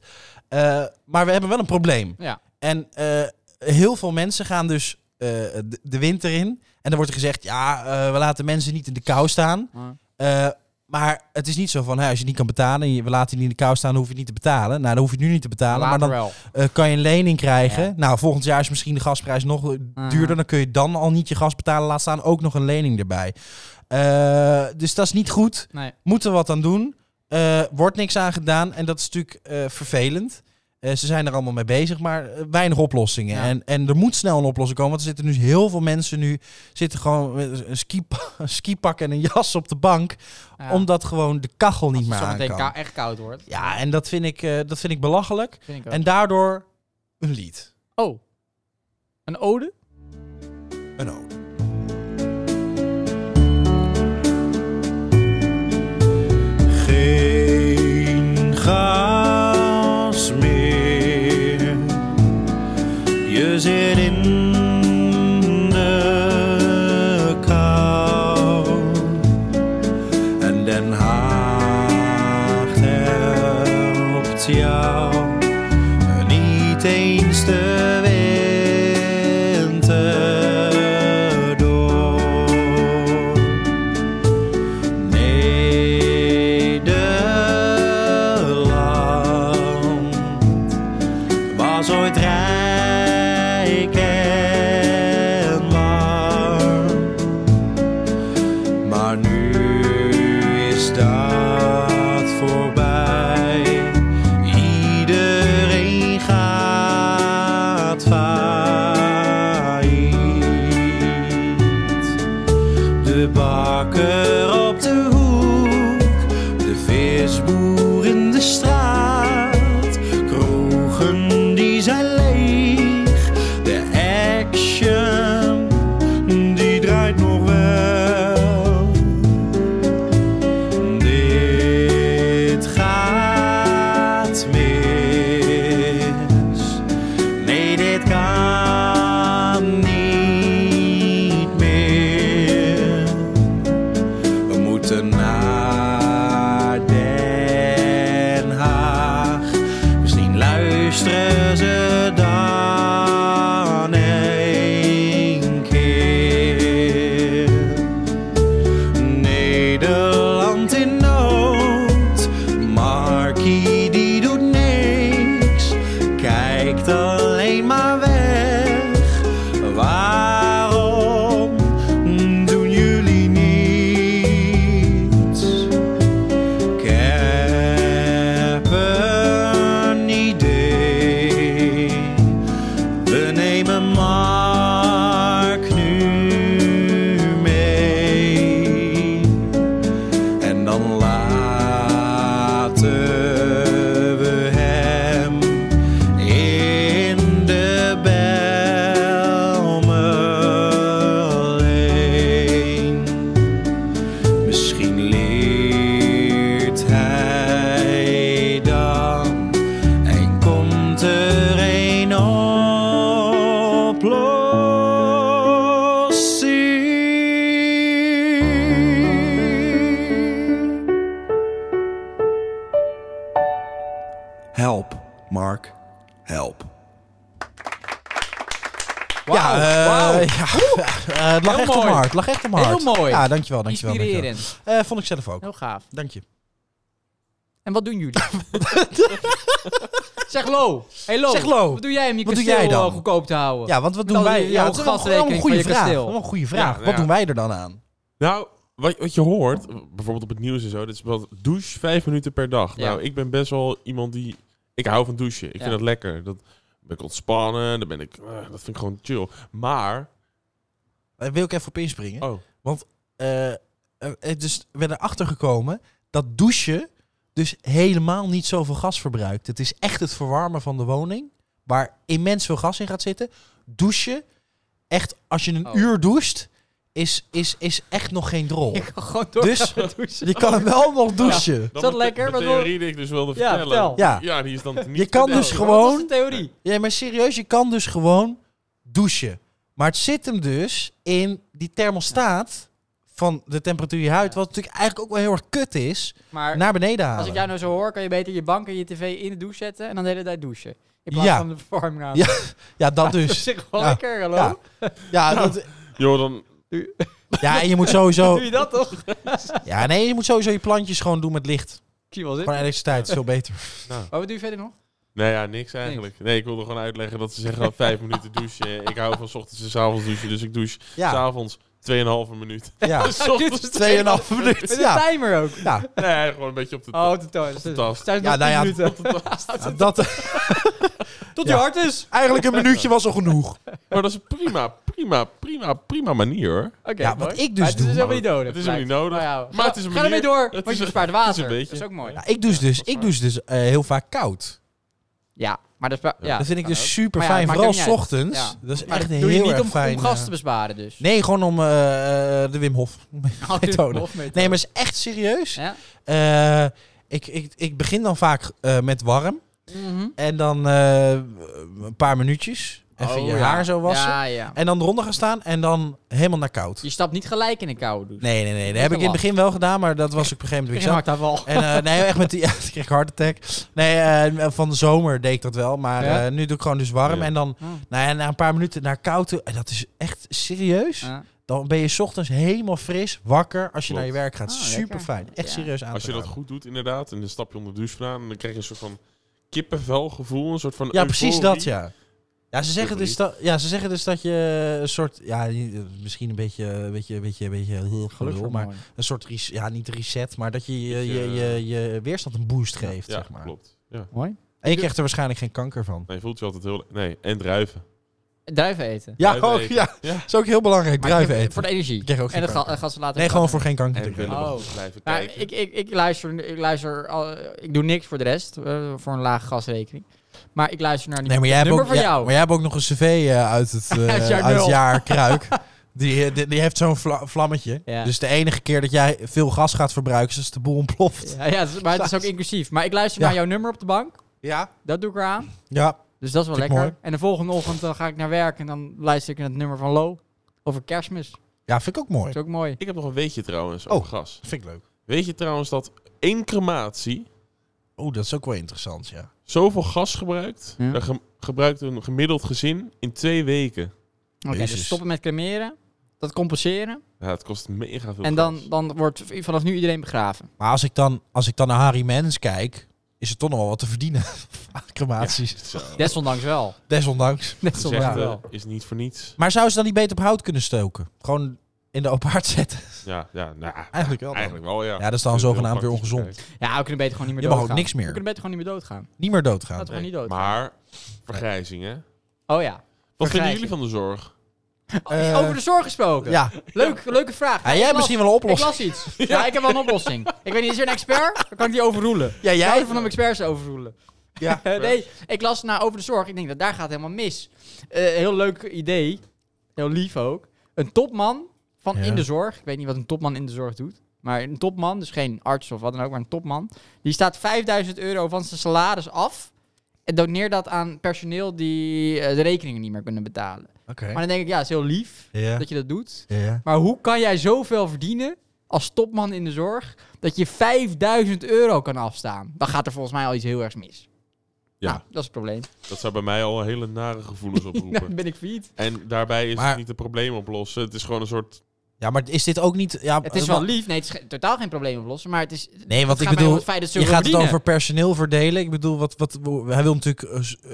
A: Eh, maar we hebben wel een probleem.
C: Ja.
A: En eh, heel veel mensen gaan dus eh, de, de winter in. En dan wordt er gezegd, ja, eh, we laten mensen niet in de kou staan.
C: Ja.
A: Eh, maar het is niet zo van, hè, als je niet kan betalen, en je- we laten je niet in de kou staan, dan hoef je het niet te betalen. Nou, dan hoef je het nu niet te betalen,
C: Later
A: maar dan
C: wel.
A: eh, kan je een lening krijgen.
C: Ja.
A: Nou, volgend jaar is misschien de gasprijs nog eh,
C: Mhm.
A: duurder. Dan kun je dan al niet je gas betalen. Laat staan ook nog een lening erbij. Eh, dus dat is niet goed.
C: Nee.
A: Moeten we wat aan doen. Eh, wordt niks aan gedaan. En dat is natuurlijk eh, vervelend. Eh, ze zijn er allemaal mee bezig, maar eh, weinig oplossingen.
C: Ja.
A: En, en er moet snel een oplossing komen. Want er zitten nu heel veel mensen nu... zitten gewoon met een, ski, een skipak en een jas op de bank.
C: Ja.
A: Omdat gewoon de kachel niet
C: Als
A: meer
C: het
A: aan
C: zometeen
A: kan.
C: ka- echt koud wordt.
A: Ja, en dat vind ik, eh, dat vind ik belachelijk.
C: Vind ik ook.
A: En daardoor een lied.
C: Oh. Een ode?
A: Een ode.
D: geen gas meer. Je zit in de kou en Den Haag helpt jou niet eens de winter door. Nederland was ooit rijk en warm, maar nu is dat voorbij. Iedereen gaat failliet. De bakker op de hoek, de visboer in de straat, kroegen die zijn leeg, de action die draait nog wel. Dit gaat mis. Nee, dit kan niet meer. We moeten naar Den Haag. Misschien luisteren ze dan een keer. Nederland in nood, Markie die doet niks. Kijkt alleen maar weg. Waarom doen jullie niets? Ik heb een idee.
K: Help, Mark, help.
A: Ja, eh, ja,
C: wauw.
A: eh, het lag
C: Heel
A: echt op
C: mooi.
A: mijn hart. Het lag echt op mijn
C: Heel
A: hart.
C: mooi.
A: Ja, dankjewel. dankjewel
C: Inspirerend.
A: dankjewel. Eh, vond ik zelf ook.
C: Heel gaaf.
A: Dank je.
C: En wat doen jullie? zeg lo. Hey lo.
A: Zeg lo.
C: Wat doe jij om je
A: Wat doe
C: kasteel
A: jij dan?
C: eh, goedkoop te houden?
A: Ja, want wat
C: Met
A: doen
C: al die-
A: wij?
C: Nou, jouw
A: Ja, dat is wel een- wel een
C: gasrekening
A: goede
C: van je
A: vraag.
C: kasteel.
A: Wel een goede vraag.
B: Ja,
A: Wat
B: ja.
A: doen wij er dan aan?
B: Nou, wat, wat je hoort, bijvoorbeeld op het nieuws en zo, dat is wel douche vijf minuten per dag.
C: Ja.
B: Nou, ik ben best wel iemand die... Ik hou van douchen. Ik
C: Ja.
B: vind dat lekker. Dat dan ben ik ontspannen, dan ben ik... eh, dat vind ik gewoon chill. Maar...
A: Daar Eh, wil ik even op inspringen.
B: Oh,
A: Eh, eh, eh, dus we zijn erachter gekomen dat douchen dus helemaal niet zoveel gas verbruikt. Het is echt het verwarmen van de woning, waar immens veel gas in gaat zitten. Douchen, echt als je een
C: Oh.
A: uur doucht, is, is, is echt nog geen drol.
C: Ik kan gewoon door
A: Dus-
C: gaan douchen.
A: Je kan wel nog douchen.
C: dat
B: met de-
C: lekker?
B: De
C: Wat
B: theorie die ik dus wilde
C: Ja,
B: vertellen.
C: vertel.
A: Ja.
B: die is dan niet
A: Je kan
B: verteld.
A: dus
C: Oh,
A: gewoon-
C: Dat is de theorie.
A: Ja, maar serieus, je kan dus gewoon douchen. Maar het zit hem dus in die thermostaat van de temperatuur in je huid,
C: Ja.
A: wat natuurlijk eigenlijk ook wel heel erg kut is,
C: Maar
A: naar beneden halen.
C: als ik jou nou zo hoor, kan je beter je bank en je tv in de douche zetten en dan de hele tijd douchen. In plaats
A: Ja.
C: van de verwarming aan.
A: Ja, Ja, dat dus.
C: Zeg Nou. gewoon
A: Ja.
C: lekker, hallo.
A: Ja. Ja, dat,
B: Joh, dan...
A: ja, en je moet sowieso...
C: Doe je dat toch?
A: Ja, nee, je moet sowieso je plantjes gewoon doen met licht.
C: Ik zie wel zitten.
A: Gewoon elektriciteit, is veel beter.
C: Maar wat doe je verder nog?
B: Nou ja, niks eigenlijk. Nee, ik wilde gewoon uitleggen dat ze zeggen vijf minuten douchen. Ik hou van 's ochtends en 's avonds douchen, dus ik douche
A: Ja,
B: s'avonds 2,5 minuut.
A: ja.
B: S ochtends
A: Tweeënhalve minuut.
C: Met
A: Ja,
C: een timer ook.
A: ja,
B: Nee, gewoon een beetje op de
C: Oh,
B: tand.
C: tot thuis.
B: de tas.
C: Thuis
A: Ja,
C: nog
A: nou ja.
C: 10 minuten.
A: ja, dat,
C: Tot
A: Ja.
C: je hart is.
A: eigenlijk een minuutje was al genoeg.
B: Maar dat is een prima, prima, prima, prima manier hoor.
C: Oké,
A: Ja, wat
C: mooi.
A: ik dus
C: Maar het is
A: doe-
C: dus helemaal niet nodig.
B: Het is ook niet
C: blijkt.
B: nodig.
C: Nou ja,
B: Maar het is een
C: Ga ermee
B: manier.
C: door,
B: Het
C: want
B: is
C: je
B: een-
C: bespaart
B: het is
C: water.
B: een beetje.
C: Dat is ook mooi.
A: Ja, ik douche dus, ik douche dus eh, heel vaak koud.
C: Ja, maar dat, is wel- ja,
A: dat vind ik
C: kan
A: dus
C: ook.
A: super
C: Maar ja,
A: fijn,
C: het maakt
A: vooral
C: ook niet uit.
A: ochtends.
C: Ja.
A: Dat is
C: Maar
A: echt
C: dat
A: heel
C: doe je niet
A: erg
C: om,
A: fijn.
C: om
A: eh.
C: gas te besparen dus.
A: Nee, gewoon om eh, eh, de Wim Hof.
C: Oh, dit-
A: methode.
C: of met-
A: Nee, maar het is echt serieus.
C: Ja?
A: Eh, ik, ik, ik begin dan vaak eh, met warm.
C: Mhm.
A: En dan eh, een paar minuutjes. Even
C: Oh,
A: je
C: ja.
A: haar zo wassen.
C: Ja, ja.
A: En dan eronder gaan staan en dan helemaal naar koud.
C: Je stapt niet gelijk in dus. een koude douche.
A: Nee, nee, nee.
C: is
A: Dat heb
C: wel
A: ik in het
C: last.
A: begin wel gedaan, maar dat was ik op een gegeven moment
C: Ik
A: weer zelf.
C: maak dat wel.
A: En eh, nee, echt met die... Ja, toen kreeg ik een heart attack. Nee, eh, van de zomer deed ik dat wel. Maar
C: Ja?
A: eh, nu doe ik gewoon dus warm.
B: Ja.
A: En dan
C: Hmm.
A: nou ja, na een paar minuten naar koud toe. En dat is echt serieus.
C: Ja.
A: Dan ben je 's ochtends helemaal fris, wakker als je
B: Klopt.
A: naar je werk gaat.
C: Ah,
A: Super fijn. Echt
C: Ja.
A: serieus aan
B: Als
A: te
B: je dat
A: raden.
B: goed doet inderdaad, en dan stap je onder de douche vandaan, en dan krijg je een soort van kippenvel gevoel, een soort van
A: Ja, precies
B: euforie.
A: dat, ja. Ja ze, zeggen dus
B: Euforie.
A: dat, ja, ze zeggen dus dat je een soort, ja, niet- misschien een beetje, een beetje, een beetje, een beetje, heel gelul, maar een soort, res- ja, niet reset, maar dat je je, je, je, je weerstand een boost geeft,
B: eh, Ja,
A: zeg maar.
B: klopt. Ja.
C: Mooi.
A: En je krijgt er waarschijnlijk geen kanker van.
B: Nee, voelt je altijd heel... Nee, en druiven.
C: Duiven eten.
A: Ja,
B: Druiven
A: oh,
B: eten.
A: ja,
B: ja.
A: dat is ook heel belangrijk,
C: Maar
A: druiven
C: ik-
A: eten.
C: Voor de energie.
A: Ik krijg ook
C: en
A: geen
C: dat ga,
A: kanker.
C: dat gaan ze later
A: Nee,
C: ook
A: gewoon
C: laten.
A: voor geen kanker te
B: En
A: krijgen.
B: willen
C: Oh.
B: blijven
C: Nou,
B: kijken.
C: ik, ik, ik luister, ik luister al, ik doe niks voor de rest, eh, voor een lage gasrekening. Maar ik luister naar die
A: Nee, maar jij, hebt
C: nummer
A: ook,
C: van
A: ja,
C: jou.
A: maar jij hebt ook nog een cv eh, uit het, eh,
C: Uit jaar
A: uit het
C: nul.
A: jaar Kruik. Die, eh, die, die heeft zo'n vla- vlammetje.
C: Ja.
A: Dus de enige keer dat jij veel gas gaat verbruiken, is als de boel ontploft.
C: Ja, ja, het is- maar het is ook inclusief. Maar ik luister
A: Ja.
C: naar jouw nummer op de bank.
A: Ja.
C: Dat doe ik eraan.
A: Ja.
C: Dus dat is wel
A: Vind ik
C: lekker.
A: mooi.
C: En de volgende ochtend dan ga ik naar werk en dan luister ik naar het nummer van Lo. Over kerstmis. Dat
A: Ja, vind ik ook mooi.
C: is ook mooi.
B: Ik heb nog een weetje trouwens
A: Oh.
B: over gas.
A: Vind ik leuk.
B: Weet je trouwens dat één crematie
A: Oeh, dat is ook wel interessant, ja.
B: zoveel gas gebruikt?
C: Ja.
B: Daar ge- gebruikt een gemiddeld gezin in twee weken.
C: Oké,
A: Jezus.
C: dus stoppen met cremeren. Dat compenseren.
B: Ja, het kost mega veel gas.
C: En dan, dan wordt v- vanaf nu iedereen begraven.
A: Maar als ik dan, als ik dan naar Harry Mens kijk, is er toch nog wel wat te verdienen. Aan crematies.
B: Zo.
C: Desondanks wel.
A: Desondanks.
C: Desondanks
B: Gezegde
A: eh,
C: wel.
B: is niet voor niets.
A: Maar zouden ze dan niet beter op hout kunnen stoken? Gewoon in de open haard zetten?
B: Ja, ja, nou, ja,
A: Eigenlijk wel. dan.
B: eigenlijk wel, ja.
A: Ja, dat is dan
B: Heel
A: zogenaamd weer
B: praktisch
A: ongezond.
B: bekijkt.
C: Ja, we kunnen beter gewoon niet meer
A: Je mag ook
C: doodgaan.
A: niks meer.
C: We kunnen beter gewoon niet meer doodgaan.
A: Niet meer doodgaan.
C: Laten we gewoon niet doodgaan.
B: Maar, vergrijzing, hè?
C: Oh ja.
B: Wat vinden
C: Vergrijzing.
B: jullie van de zorg?
A: Eh,
C: Over de zorg gesproken.
A: Ja.
C: Leuk, leuke vraag.
A: ja. Jij
C: Ik
A: hebt
C: las-
A: misschien wel een
C: Ik
A: oplossing.
C: las iets. Ja. ik heb wel een oplossing. Ik weet niet, is er een expert? Dan kan ik die overroelen.
A: Ja,
C: Jij
A: jij?
C: houdt van om experts te overroelen.
A: Ja.
C: Eh, nee, ik las naar over de zorg. Ik denk dat daar gaat helemaal mis. Eh, heel leuk idee. Heel lief ook. Een topman van
A: Ja.
C: in de zorg. Ik weet niet wat een topman in de zorg doet. Maar een topman, dus geen arts of wat dan ook, maar een topman. Die staat 5000 euro van zijn salaris af. En doneert dat aan personeel die eh, de rekeningen niet meer kunnen betalen.
A: Oké.
C: Maar dan denk ik, ja, het is heel lief
A: Ja.
C: dat je dat doet.
A: Ja, ja.
C: Maar hoe kan jij zoveel verdienen als topman in de zorg dat je 5000 euro kan afstaan? Dan gaat er volgens mij al iets heel ergs mis.
B: Ja.
C: Nou, dat is het probleem.
B: Dat zou bij mij al hele nare gevoelens oproepen.
C: Dan ben ik failliet.
B: En daarbij is
A: Maar-
B: het niet een probleem oplossen. Het is gewoon een soort...
A: Ja, maar is dit ook niet... Ja, eh,
C: Het is wel lief. Nee, het is ge- totaal geen probleem oplossen. Maar het is.
A: Nee, want
C: het
A: ik
C: gaat mij om
A: bedoel,
C: het feit dat ze
A: je gaat het
C: verdienen.
A: over personeel verdelen. Ik bedoel, wat, wat, hij wil natuurlijk eh, s- eh,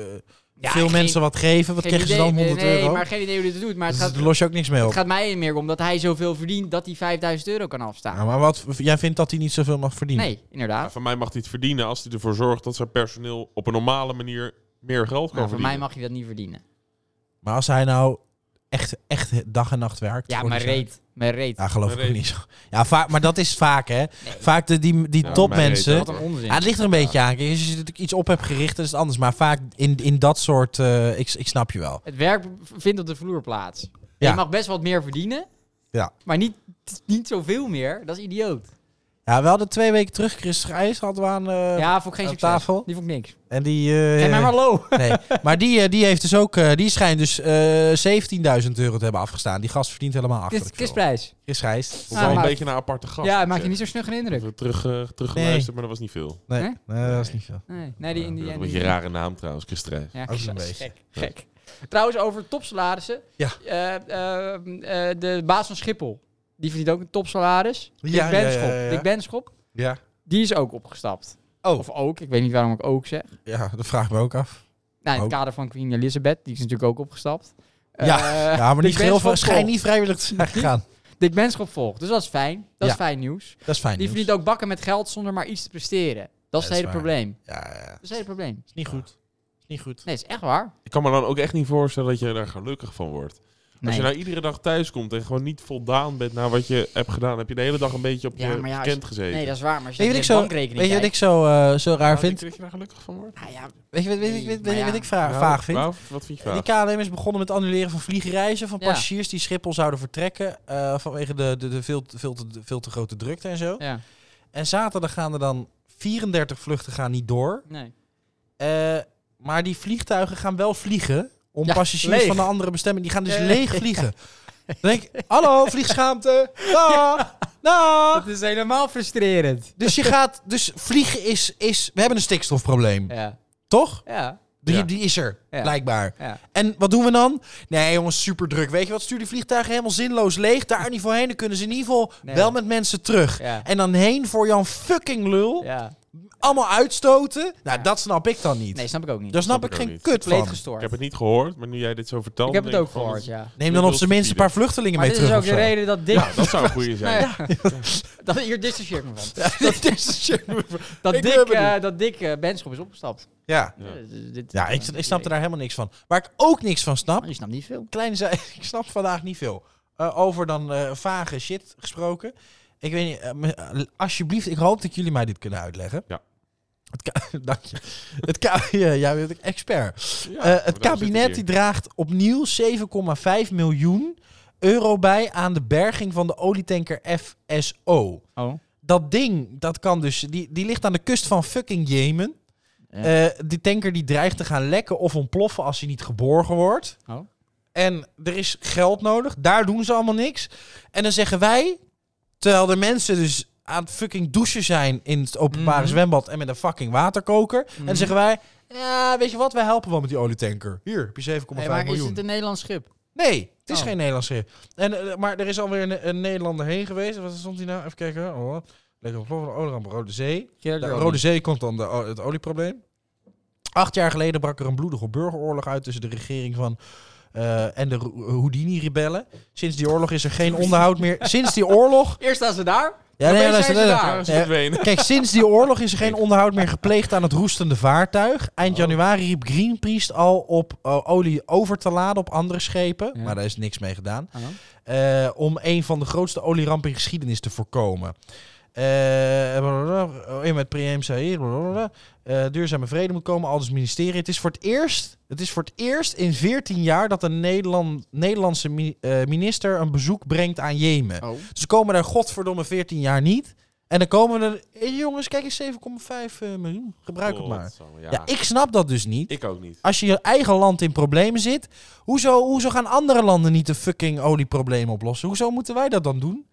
C: Ja,
A: veel
C: geen-
A: mensen wat geven. Wat
C: Geen
A: krijgen ze
C: idee.
A: dan? 100
C: nee, nee,
A: euro?
C: maar geen idee hoe dit het doet. Maar het
A: dus
C: gaat,
A: daar los je ook niks mee op.
C: het gaat mij meer om dat hij zoveel verdient dat hij 5000 euro kan afstaan.
A: Ja, maar wat, jij vindt dat hij niet zoveel mag verdienen?
C: nee, inderdaad. Nou,
B: Van mij mag hij het verdienen als hij ervoor zorgt dat zijn personeel op een normale manier meer geld kan
C: Maar voor mij
B: verdienen.
C: mag je dat niet verdienen.
A: Maar als hij nou echt, echt dag en nacht werkt...
C: Ja,
A: voor
C: maar
A: die zaak-
C: reet. Maar reet.
A: Ja, geloof
B: Maar
A: ik ook
B: reet.
A: niet zo. Ja, vaak, maar dat is vaak, hè. Vaak de, die, die
B: Ja,
A: topmensen...
B: mij
C: Wat een onzin.
A: Ja, het ligt er een beetje aan. Kijk, Als je natuurlijk iets op hebt gericht, dan is het anders. Maar vaak in, in dat soort... eh, ik, ik snap je wel.
C: Het werk vindt op de vloer plaats.
A: Ja.
C: Je mag best wat meer verdienen.
A: Ja.
C: Maar niet, niet zoveel meer. Dat is idioot.
A: Ja, we hadden twee weken terug Chris Grijs hadden we aan, eh,
C: ja, vond ik geen
A: op
C: succes.
A: tafel?
C: Die vond ik niks.
A: En die... eh,
C: Geef mij maar low.
A: Nee, maar die, eh, die heeft dus ook, eh, die schijnt dus eh 17.000 euro te hebben afgestaan. Die gast verdient helemaal achter.
C: Kist- Kistprijs.
A: Chris Gijs.
B: Het is wel
C: Ah,
B: een
C: maar-
B: beetje naar aparte gast.
C: Ja,
B: moet
C: maak je
B: ik
C: niet zo snug een
B: zeggen.
C: indruk.
B: Even terug, eh, teruggeluisterd, maar dat was niet veel.
A: Nee,
C: Hè?
A: nee, dat is niet veel.
C: Nee, nee die, die, die,
B: een beetje een rare naam trouwens, Christrij.
C: Ja,
A: Ook zo'n
C: dat is
A: beetje.
C: Gek, gek. Trouwens, over topsalarissen.
A: Ja.
C: Eh, eh, eh, de baas van Schiphol. Die verdient ook een topsalaris. Dick
A: Ja, ja, ja,
C: Benschop.
A: ja, ja.
C: Dick Benschop.
A: Ja.
C: Die is ook opgestapt.
A: Oh.
C: Of ook. Ik weet niet waarom ik ook zeg.
A: ja, dat vraag ik me ook af.
C: Nou, in het
A: Ook.
C: kader van Queen Elizabeth. Die is natuurlijk ook opgestapt.
A: Ja,
C: Eh,
A: ja, maar
C: Dick
A: niet heel
C: Benschop
A: veel. Schijnt
C: volgt.
A: niet vrijwillig te zijn gegaan.
C: Dick Benschop volgt. Dus dat is fijn. Dat
A: Ja.
C: is fijn nieuws.
A: Dat is fijn.
C: Die
A: nieuws.
C: verdient ook bakken met geld zonder maar iets te presteren. Dat is
A: Dat
C: het
A: is
C: hele
A: waar.
C: probleem.
A: Ja, ja, ja.
C: Dat is het hele probleem.
A: Is niet goed. Is niet goed.
C: Nee, dat is echt waar.
B: Ik kan me dan ook echt niet voorstellen dat je daar gelukkig van wordt. Als
C: Nee.
B: je nou iedere dag thuis komt en gewoon niet voldaan bent naar wat je hebt gedaan, heb je de hele dag een beetje op
C: Ja,
B: je
C: maar ja, als
B: kent
C: je-
B: gezeten.
C: Nee, dat is waar. Maar als je
A: Weet je
C: naar
A: wat ik
C: de
A: zo,
C: bankrekening
A: weet je wat ik
C: kijkt-
A: zo, eh, zo raar
B: Denk
A: vind?
B: je dat je daar gelukkig van wordt?
C: Nou ja,
A: Weet je wat, weet je,
C: Nee,
A: weet, je-
C: maar
A: weet, je wat
C: ja.
A: ik vraag,
B: Nou,
A: vaag vind?
B: Waar, wat vind je vaag?
A: Die KLM is begonnen met annuleren van vliegreizen van
C: Ja.
A: passagiers die Schiphol zouden vertrekken eh, vanwege de, de, de veel, te- veel, te, veel te grote drukte en zo.
C: ja.
A: En zaterdag gaan er dan 34 vluchten gaan niet door.
C: Nee.
A: Eh, maar die vliegtuigen gaan wel vliegen. Om
C: Ja,
A: passagiers
C: leeg.
A: van de andere bestemming. Die gaan dus
C: Ja.
A: leeg vliegen. Dan denk ik, hallo, vliegschaamte. Dag. Dag.
C: Dat is helemaal frustrerend.
A: Dus je gaat... Dus vliegen is... is we hebben een stikstofprobleem.
C: Ja.
A: Toch?
C: Ja.
A: Die,
B: Ja.
A: die is er,
C: Ja.
A: blijkbaar.
C: Ja.
A: En wat doen we dan? Nee, jongens, super druk. Weet je wat? Stuur die vliegtuigen helemaal zinloos leeg. Daar niet voor heen. Dan kunnen ze in ieder geval
C: Nee.
A: wel met mensen terug.
C: Ja.
A: En dan heen voor Jan fucking lul.
C: ja.
A: Allemaal uitstoten. Nou,
C: Ja.
A: dat snap ik dan niet.
C: Nee, snap ik ook niet.
A: Daar snap,
B: Snap ik
A: ik
B: ook
A: geen
B: niet.
A: kut
C: Compleet
A: van.
B: Ik
C: gestoord.
B: heb het niet gehoord, maar nu jij dit zo vertelt...
C: Ik heb het
B: denk
C: ook
B: van,
C: gehoord, ja.
A: Neem dan op zijn minst een paar vluchtelingen
C: Maar
A: mee
C: dit is
A: terug.
C: ook de reden dat Dick...
B: Ja, dat zou een goede zijn.
C: Nee, dat, hier distancieer ik me van.
A: dat is
C: Dat
A: Ik ben
C: Dick,
A: benieuwd.
C: eh, dat Dick eh, Benschop is opgestapt.
A: Ja,
B: Ja.
C: Eh, dus dit-
A: ja ik, ik snapte daar helemaal niks van. Waar ik ook niks van snap,
C: Je snapt niet veel.
A: kleine zij, ik snap vandaag niet veel. Eh, over dan eh, vage shit gesproken. Ik weet niet, eh, me- eh, alsjeblieft, ik hoop dat jullie mij dit kunnen uitleggen.
B: Ja.
A: Het ka- Dank je. Het ka- ja, jij bent een expert.
B: Ja,
A: Eh, het
B: maar daarom zit
A: kabinet die
B: hij hier.
A: draagt opnieuw 7,5 miljoen euro bij aan de berging van de olietanker FSO.
C: Oh.
A: dat ding, dat kan dus, die, die ligt aan de kust van fucking Jemen.
C: Ja.
A: Eh, die tanker die dreigt te gaan lekken of ontploffen als hij niet geborgen wordt.
C: Oh.
A: En er is geld nodig, daar doen ze allemaal niks. En dan zeggen wij, terwijl de mensen dus aan het fucking douchen zijn in het openbare
C: Mhm.
A: zwembad en met een fucking waterkoker. En
C: Mhm.
A: dan zeggen wij, ja, weet je wat, wij helpen wel met die olietanker. Hier, heb je 7,5
C: Hey, maar is
A: miljoen.
C: het een Nederlands schip?
A: Nee, het is
C: Oh.
A: geen Nederlands schip. En, eh, maar er is alweer een, een Nederlander heen geweest. Wat stond hij nou? Even kijken. Oh, lekker op vloer van de Olenramp, Rode Zee. De Rode Zee komt dan de, o- het olieprobleem. Acht jaar geleden brak er een bloedige burgeroorlog uit tussen de regering van eh, en de Ro- Houdini-rebellen. Sinds die oorlog is er geen onderhoud meer. Sinds die oorlog.
C: Eerst staan ze daar.
A: Ja,
C: Opeens
A: luister,
C: zijn ze
A: luister.
C: daar.
B: Daar is hij
A: Ja.
B: verdwenen.
A: Kijk, sinds die oorlog is er geen onderhoud meer gepleegd aan het roestende vaartuig.
C: Oh.
A: Eind januari riep Greenpeace al op eh, olie over te laden op andere schepen.
C: Ja.
A: Maar daar is niks mee gedaan.
C: Oh.
A: Eh, om een van de grootste olierampen in geschiedenis te voorkomen. Eh, blablabla, oh, in met Priem zei hier, blablabla, eh, duurzame vrede moet komen, al dus het ministerie. Het is voor het eerst, het is voor het eerst in 14 jaar dat een Nederland, Nederlandse mi- eh, minister een bezoek brengt aan Jemen.
C: Oh.
A: Ze komen daar godverdomme 14 jaar niet. En dan komen er... Hé, jongens, kijk eens, 7,5 eh, miljoen. Gebruik het maar.
B: Godsamme,
A: Ja.
B: Oh, Ja, ik...
A: ik snap dat dus niet.
B: ook niet.
A: Als je je eigen land in problemen zit... Hoezo, hoezo gaan andere landen niet de fucking olieprobleem oplossen? Hoezo moeten wij dat dan doen?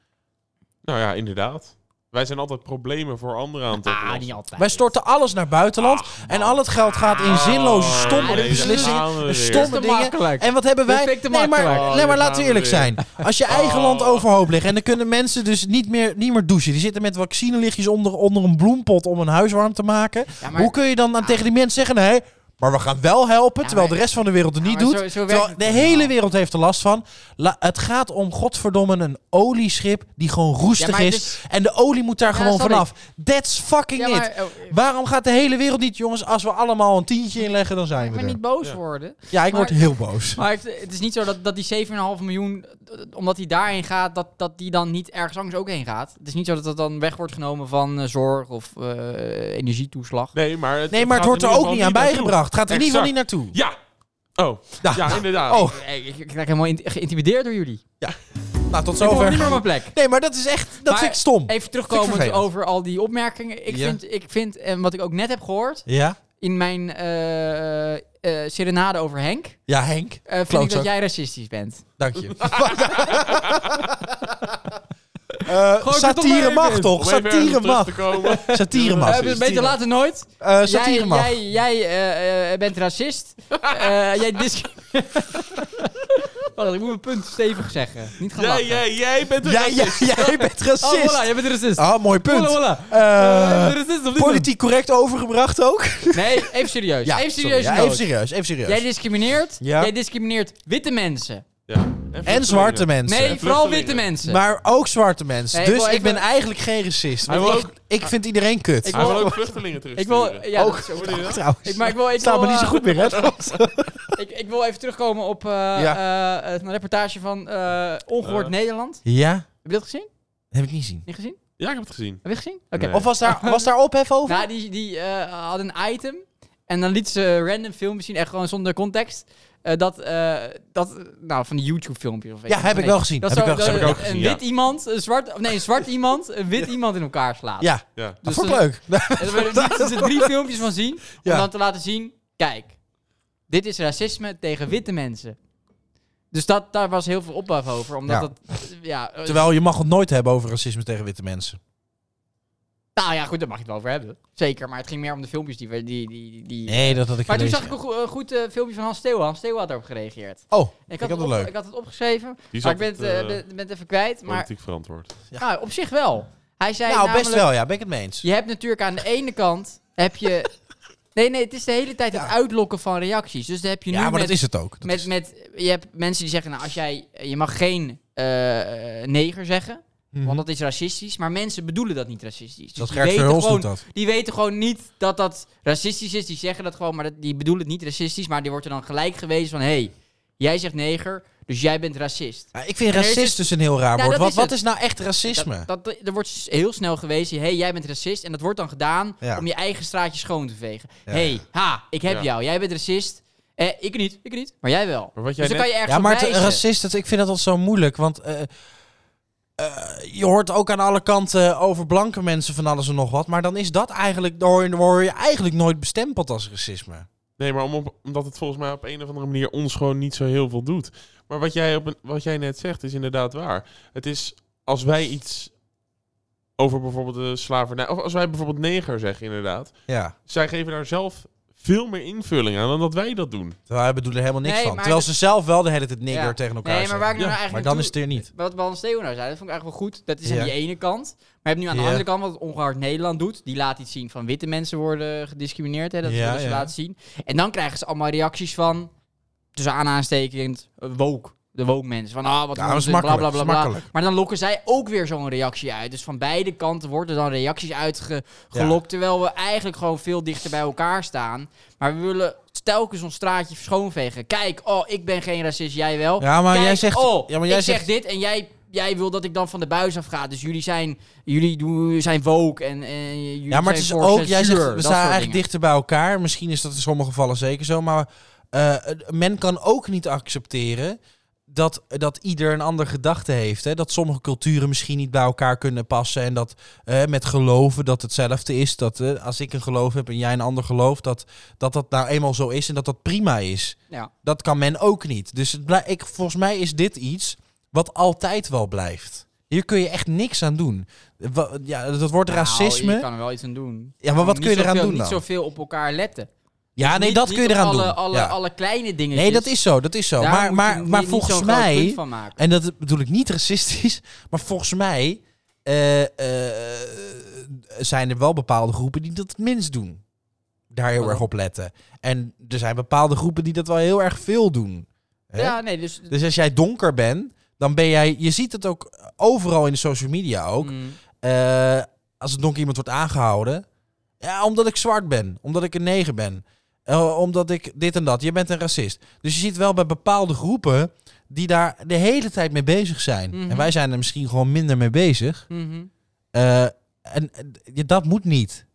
B: Nou ja, inderdaad. Wij zijn altijd problemen voor anderen aan het
A: Ah,
B: oplossen.
A: Wij storten alles naar buitenland.
B: Ah,
A: en al het geld gaat in zinloze, stomme
B: nee, daar Ah, gaan we
A: beslissingen.
B: weer.
A: Stomme
B: Dit is te
A: dingen.
B: makkelijk.
A: En wat hebben
B: Dit
A: wij?
B: vind ik te
A: nee, maar,
B: makkelijk. Oh,
A: nee, maar
B: daar
A: laten
B: gaan
A: we
B: we
A: eerlijk
B: weer. Oh.
A: zijn. Als je eigen land overhoop legt. En dan kunnen mensen dus niet meer, niet meer douchen. Die zitten met vaccinelichtjes onder, onder een bloempot om een huis warm te maken.
C: maar-
A: Hoe kun je dan aan, tegen die mensen zeggen... Nee, maar we gaan wel helpen, terwijl de rest van de wereld het niet
C: maar
A: doet.
C: zo- zo werkt
A: terwijl
C: het
A: de hele wereld heeft er last van. La- het gaat om, godverdomme, een olieschip die gewoon
C: Ja,
A: roestig
C: maar
A: is.
C: dus-
A: En de olie moet daar
C: Ja,
A: gewoon
C: snap ik.
A: vanaf. That's fucking
C: Ja,
A: it.
C: maar, oh,
A: Waarom gaat de hele wereld niet, jongens? Als we allemaal een tientje inleggen, dan zijn we
C: maar
A: er.
C: niet boos worden.
A: Ja, ik
C: Maar-
A: word heel boos.
C: Maar het, het is niet zo dat, dat die 7,5 miljoen, eh, omdat die daarheen gaat, dat, dat die dan niet ergens anders ook heen gaat. Het is niet zo dat dat dan weg wordt genomen van eh, zorg of eh, energietoeslag.
B: Nee, maar het,
A: nee, maar het
B: gaat
A: wordt er
B: in ieder
A: ook
B: geval
A: niet aan
B: naartoe.
A: bijgebracht. Het gaat er in ieder geval niet
B: Exact.
A: naartoe.
B: Ja! Oh,
A: Ja.
B: ja, inderdaad.
A: Oh,
C: Ik, ik, ik raak helemaal in- geïntimideerd door jullie.
A: nou tot
C: Ik hoor niet meer
A: zover.
C: op mijn plek.
A: Nee, maar dat is echt, dat
C: Maar
A: vind ik stom.
C: Even
A: Vind ik
C: terugkomend
A: vervelend.
C: over al die opmerkingen. Ik,
A: Ja.
C: vind, ik vind, en wat ik ook net heb gehoord,
A: Ja?
C: in mijn eh, eh, serenade over Henk, eh,
A: Ja, Henk.
C: vind ik
A: Klootzak.
C: dat jij racistisch bent.
A: Dank je. Eh satire mag toch?
B: Om even
A: Satire
B: ergens terug
A: mag.
B: te komen.
A: Satire mag.
B: Precies,
C: Eh, beter
B: Tina.
C: later nooit.
A: Eh,
C: jij
A: satire mag.
C: jij, jij eh, eh, bent racist. Eh, jij discrimineert. Wacht, ik moet mijn punt stevig zeggen. Niet gaan
B: Jij,
C: lachen.
B: jij, jij bent dus
A: Jij,
B: een
A: jij, jij bent
C: Oh, voilà,
A: racist.
C: jij bent een racist.
A: Ah, mooi
C: Voilà,
A: punt.
C: voilà. Eh,
A: Eh,
C: je bent een racist of niet?
A: Politiek correct overgebracht ook.
C: Nee, even serieus. even
A: sorry.
C: serieus.
A: Ja,
C: nood.
A: even serieus. Even
C: Jij
A: serieus.
C: discrimineert.
A: Ja.
C: Jij discrimineert witte mensen.
B: Ja.
A: En
B: vluchtelingen.
A: zwarte mensen.
C: Nee, vooral
B: vluchtelingen.
C: witte mensen.
A: Maar ook zwarte mensen.
C: Nee, ik
A: dus
C: wil
A: ik
C: even-
A: ben eigenlijk geen racist.
B: Hij
A: Want
B: wil
A: ik, ik vind iedereen kut.
C: Ik
B: Hij wil
C: wil-
B: ook vluchtelingen
C: ik
B: terugsturen.
C: wil, ja,
A: Ook.
C: dat is ook-
B: Hoorde je dat?
A: trouwens.
C: Ik, maar ik wil, ik
A: Staat
C: wil,
A: me niet zo
C: eh,
A: goed meer, hè? trouwens?
C: Ik, ik wil even terugkomen op eh eh, het reportage van eh, Ongehoord
B: Eh.
C: Nederland.
A: ja,
C: Heb je dat gezien?
A: heb ik niet zien.
C: Niet gezien?
B: Ja, ik heb het gezien.
C: Heb je gezien? Oké.
B: Nee.
A: Of was daar, was daar ophef over?
C: Nou, die, die eh, hadden een item. En dan liet ze random filmpjes zien, echt gewoon zonder context. eh, dat, eh, dat, eh, nou, van die YouTube-filmpjes of weet
A: ja,
C: ik
A: heb
C: veel.
A: ik
C: Nee.
A: wel gezien.
C: Dat
A: Heb ik wel
C: zo-
A: gezien.
B: Heb
C: dat
B: ik ook
C: een
B: gezien,
C: wit iemand, een zwart, of nee, een zwart iemand, een wit iemand in elkaar slaat.
A: Ja,
B: Ja.
A: dat
C: Dus
A: vond ik
C: dan-
A: leuk.
C: En daar lieten ze drie filmpjes van zien.
A: Ja.
C: Om dan te laten zien, kijk, dit is racisme tegen witte mensen. Dus dat, daar was heel veel ophef over. Omdat
A: Ja.
C: dat, ja, eh,
A: Terwijl je mag het nooit hebben over racisme tegen witte mensen.
C: Nou ja, goed, daar mag je het wel over hebben. Zeker, maar het ging meer om de filmpjes die... we- die, die, die
A: Nee, dat had ik
C: Maar toen
A: gelezen.
C: zag ik een go- een goed eh, filmpje van Hans Steeuwen. Hans Steeuwen had daarop gereagereerd.
A: Oh,
C: Ik
A: ik had
C: had,
A: het
C: het op-
A: leuk.
C: ik had het opgeschreven,
B: Die is
C: maar ik ben
B: altijd,
C: het, eh,
B: eh,
C: ben, ben het even kwijt. Maar
B: Politiek verantwoord.
C: nou, op zich wel. Hij zei
A: Nou,
C: namelijk,
A: best wel, ja. Ben ik het mee eens.
C: Je hebt natuurlijk aan de ene kant... heb je... Nee, nee, het is de hele tijd het uitlokken van reacties. Dus dan heb je nu
A: Ja, maar
C: met,
A: dat is het ook. Dat
C: met,
A: is-
C: met... Je hebt mensen die zeggen, nou, als jij... Je mag geen eh, eh, neger zeggen,
A: Mhm.
C: want dat is racistisch. Maar mensen bedoelen dat niet racistisch. Dus
A: Dat
C: die
A: Gert
C: weten
A: Verhulst
C: gewoon-
A: doet dat.
C: die weten gewoon niet dat dat racistisch is. Die zeggen dat gewoon, maar dat, die bedoelen het niet racistisch. Maar die wordt er dan gelijk gewezen van... hé, hey, jij zegt neger, dus jij bent racist.
A: Ja, ik vind
C: En er is
A: racist dus een heel raar
C: Ja,
A: woord.
C: dat
A: Wat,
C: is
A: wat
C: het.
A: is nou echt racisme?
C: Dat, dat, er wordt s- heel snel gewezen, hé, hey, jij bent racist. En dat wordt dan gedaan
A: Ja.
C: om je eigen straatje schoon te vegen.
A: Ja.
C: hey, ha, ik heb
B: Ja.
C: jou, jij bent racist. Eh, ik niet, ik niet, maar jij wel.
B: Maar wat jij
C: dus dan kan
B: net...
C: je ergens
A: Ja, maar
C: op
A: het,
C: wijzen.
A: racist, dat, ik vind dat altijd zo moeilijk. Want eh, eh, je hoort ook aan alle kanten over blanke mensen van alles en nog wat. Maar dan is dat eigenlijk, dan hoor je, dan word je eigenlijk nooit bestempeld als racisme.
B: Nee, maar om op- omdat het volgens mij op een of andere manier ons gewoon niet zo heel veel doet. Maar wat jij, op een, wat jij net zegt is inderdaad waar. Het is als wij iets over bijvoorbeeld de slavernij... Of als wij bijvoorbeeld neger zeggen inderdaad.
A: Ja,
B: Zij geven daar zelf veel meer invulling aan dan dat wij dat doen.
A: terwijl hij bedoelt er helemaal niks
C: Nee,
A: van.
C: maar
A: Terwijl
C: dat-
A: ze zelf wel de hele tijd nigger
C: Ja.
A: tegen elkaar
C: Nee, maar waar ik nu
B: Ja,
C: nou eigenlijk
A: Maar dan is
C: naartoe-
A: het er niet.
C: Wat Hans Theo nou zei, dat vond ik eigenlijk wel goed. Dat is
A: Ja.
C: aan die ene kant. Maar je hebt nu aan de
A: Ja.
C: andere kant wat het Ongehoord Nederland doet. Die laat iets zien van witte mensen worden gediscrimineerd. Hè, dat
A: Ja,
C: willen ze
A: ja.
C: laten zien. En dan krijgen ze allemaal reacties van, tussen aanhalingstekens, eh, woke. De woke mensen. Van, ah, wat
A: Ja, dat is
C: onzin,
A: makkelijk,
C: bla, bla,
A: dat is
C: bla, bla.
A: makkelijk.
C: Maar dan lokken zij ook weer zo'n reactie uit. Dus van beide kanten worden dan reacties uitgelokt. Terwijl we eigenlijk gewoon veel dichter bij elkaar staan. Maar we willen telkens ons straatje schoonvegen. Kijk, oh, ik ben geen racist, jij wel.
A: Ja, maar
C: Kijk,
A: jij zegt-
C: Oh,
A: ja, maar jij
C: ik zeg
A: zegt-
C: dit en jij, jij wil dat ik dan van de buis af ga. Dus jullie zijn, jullie doen, zijn woke en, en jullie
A: Ja, maar het is
C: zijn
A: ook, jij zegt, we staan eigenlijk
C: dicht.
A: dichter bij elkaar. Misschien is dat in sommige gevallen zeker zo. Maar eh, men kan ook niet accepteren dat, dat ieder een andere gedachte heeft. Hè? Dat sommige culturen misschien niet bij elkaar kunnen passen. En dat eh, met geloven dat hetzelfde is. Dat eh, als ik een geloof heb en jij een ander geloof, dat, dat dat nou eenmaal zo is en dat dat prima is.
C: Ja.
A: Dat kan men ook niet. Dus het blij- ik, volgens mij is dit iets wat altijd wel blijft. Hier kun je echt niks aan doen. Wa- Ja, dat wordt
C: Nou,
A: racisme.
C: Je kan er wel iets aan doen.
A: Ja, maar wat
C: Niet
A: kun je eraan
C: zoveel-
A: doen dan?
C: Niet zoveel op elkaar letten.
A: Ja, nee,
C: Niet-
A: dat
C: niet
A: kun je
C: op
A: eraan
C: alle,
A: doen.
C: Alle,
A: Ja.
C: alle kleine dingetjes.
A: Nee, dat is zo, dat is zo.
C: Daar
A: maar
C: moet je
A: maar,
C: niet-
A: maar
C: niet
A: volgens
C: zo'n groot
A: mij,
C: punt van maken.
A: en dat bedoel ik niet racistisch, maar volgens mij eh, eh, zijn er wel bepaalde groepen die dat het minst doen. Daar heel
C: Waarom?
A: erg op letten. En er zijn bepaalde groepen die dat wel heel erg veel doen. Hè?
C: Ja, nee, dus...
A: Dus als jij donker bent, dan ben jij. Je ziet het ook overal in de social media ook.
C: Mm.
A: Eh, als er donker iemand wordt aangehouden. Ja, omdat ik zwart ben. Omdat ik een neger ben. eh, omdat ik dit en dat. Je bent een racist. Dus je ziet wel bij bepaalde groepen die daar de hele tijd mee bezig zijn.
C: Mhm.
A: En wij zijn er misschien gewoon minder mee bezig.
C: Mhm.
A: Eh, en eh, ja, dat moet niet.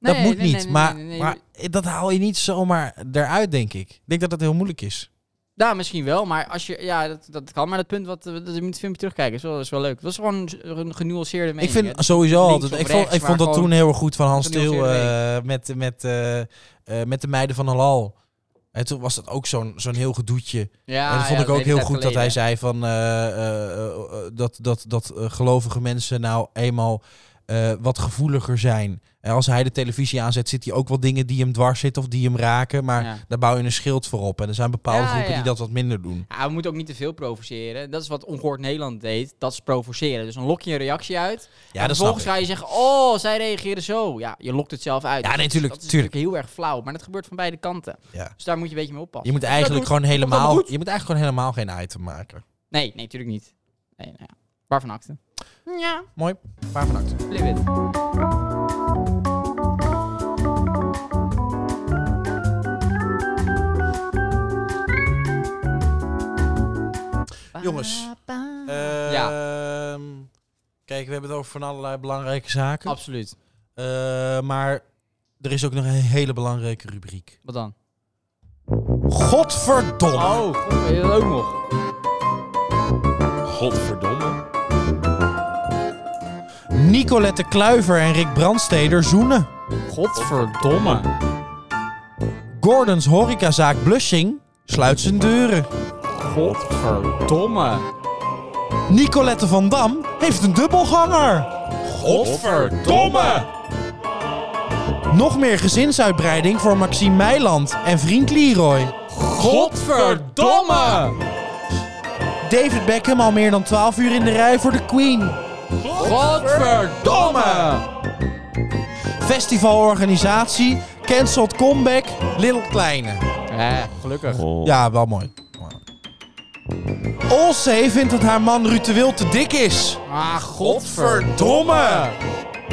A: dat
C: Nee,
A: moet
C: nee,
A: niet.
C: nee, nee,
A: maar,
C: nee, nee.
A: maar dat haal je niet zomaar eruit, denk ik. Ik denk dat dat heel moeilijk is.
C: Nou, misschien wel, maar als je... Ja, dat, dat kan. Maar dat punt wat... eh, Dat je moet het filmpje terugkijken is wel, is wel leuk. Dat is gewoon een genuanceerde mening.
A: ik
C: hè.
A: vind sowieso
C: Dus Links
A: altijd.
C: of
A: Ik
C: rechts,
A: vond, ik
C: maar
A: vond dat
C: gewoon-
A: toen heel erg goed van Hans
C: een heel
A: Til
C: zeer
A: met, met, eh, eh, met de meiden van Halal. En toen was dat ook zo'n zo'n heel gedoetje.
C: Ja,
A: en dat vond
C: ja,
A: ik ook
C: hele
A: heel
C: tijd
A: goed dat
C: geleden.
A: hij zei van eh, eh, eh, dat, dat, dat eh, gelovige mensen nou eenmaal eh, wat gevoeliger zijn. En als hij de televisie aanzet, zit hij ook wel dingen die hem dwars zitten of die hem raken. Maar
C: Ja.
A: daar bouw je een schild voor op. En er zijn bepaalde
C: Ja,
A: groepen
C: ja.
A: die dat wat minder doen.
C: Ja, we moeten ook niet te veel provoceren. Dat is wat Ongehoord Nederland deed. Dat is provoceren. Dus dan lok je een reactie uit.
A: Ja,
C: en
A: dat snap
C: vervolgens
A: ik.
C: ga je zeggen, oh, zij reageren zo. Ja, je lokt het zelf uit.
A: Ja,
C: Dus
A: nee, tuurlijk,
C: Dat is
A: tuurlijk.
C: natuurlijk heel erg flauw. Maar dat gebeurt van beide kanten.
A: Ja.
C: Dus daar moet je een beetje mee oppassen.
A: Je moet
C: Dus dat
A: eigenlijk
C: doen-
A: gewoon
C: komt allemaal
A: helemaal,
C: goed.
A: je moet eigenlijk gewoon helemaal geen item maken.
C: Nee, nee, natuurlijk niet. Nee, nou ja. Waarvan acten? Ja.
A: Mooi. Waar van acten.
C: Flip it.
A: Jongens. Ehm, Kijk, we hebben het over van allerlei belangrijke zaken.
C: Absoluut.
A: Eh, maar er is ook nog een hele belangrijke rubriek.
C: Wat dan?
A: Godverdomme!
C: Oh, god, weet je dat ook nog?
B: Godverdomme.
A: Nicolette Kluiver en Rick Brandsteder zoenen.
C: Godverdomme.
A: Gordons horecazaak Blushing sluit zijn deuren.
C: Godverdomme.
A: Nicolette van Dam heeft een dubbelganger.
B: Godverdomme!
A: Nog meer gezinsuitbreiding voor Maxime Meiland en vriend Leroy.
C: Godverdomme.
A: David Beckham al meer dan 12 uur in de rij voor de Queen.
C: Godverdomme.
A: Festivalorganisatie cancelt comeback Little Kleine.
C: Eh, gelukkig.
A: Ja, wel mooi. Olsee vindt dat haar man Ruud de Wild te dik is.
C: Ah, godverdomme.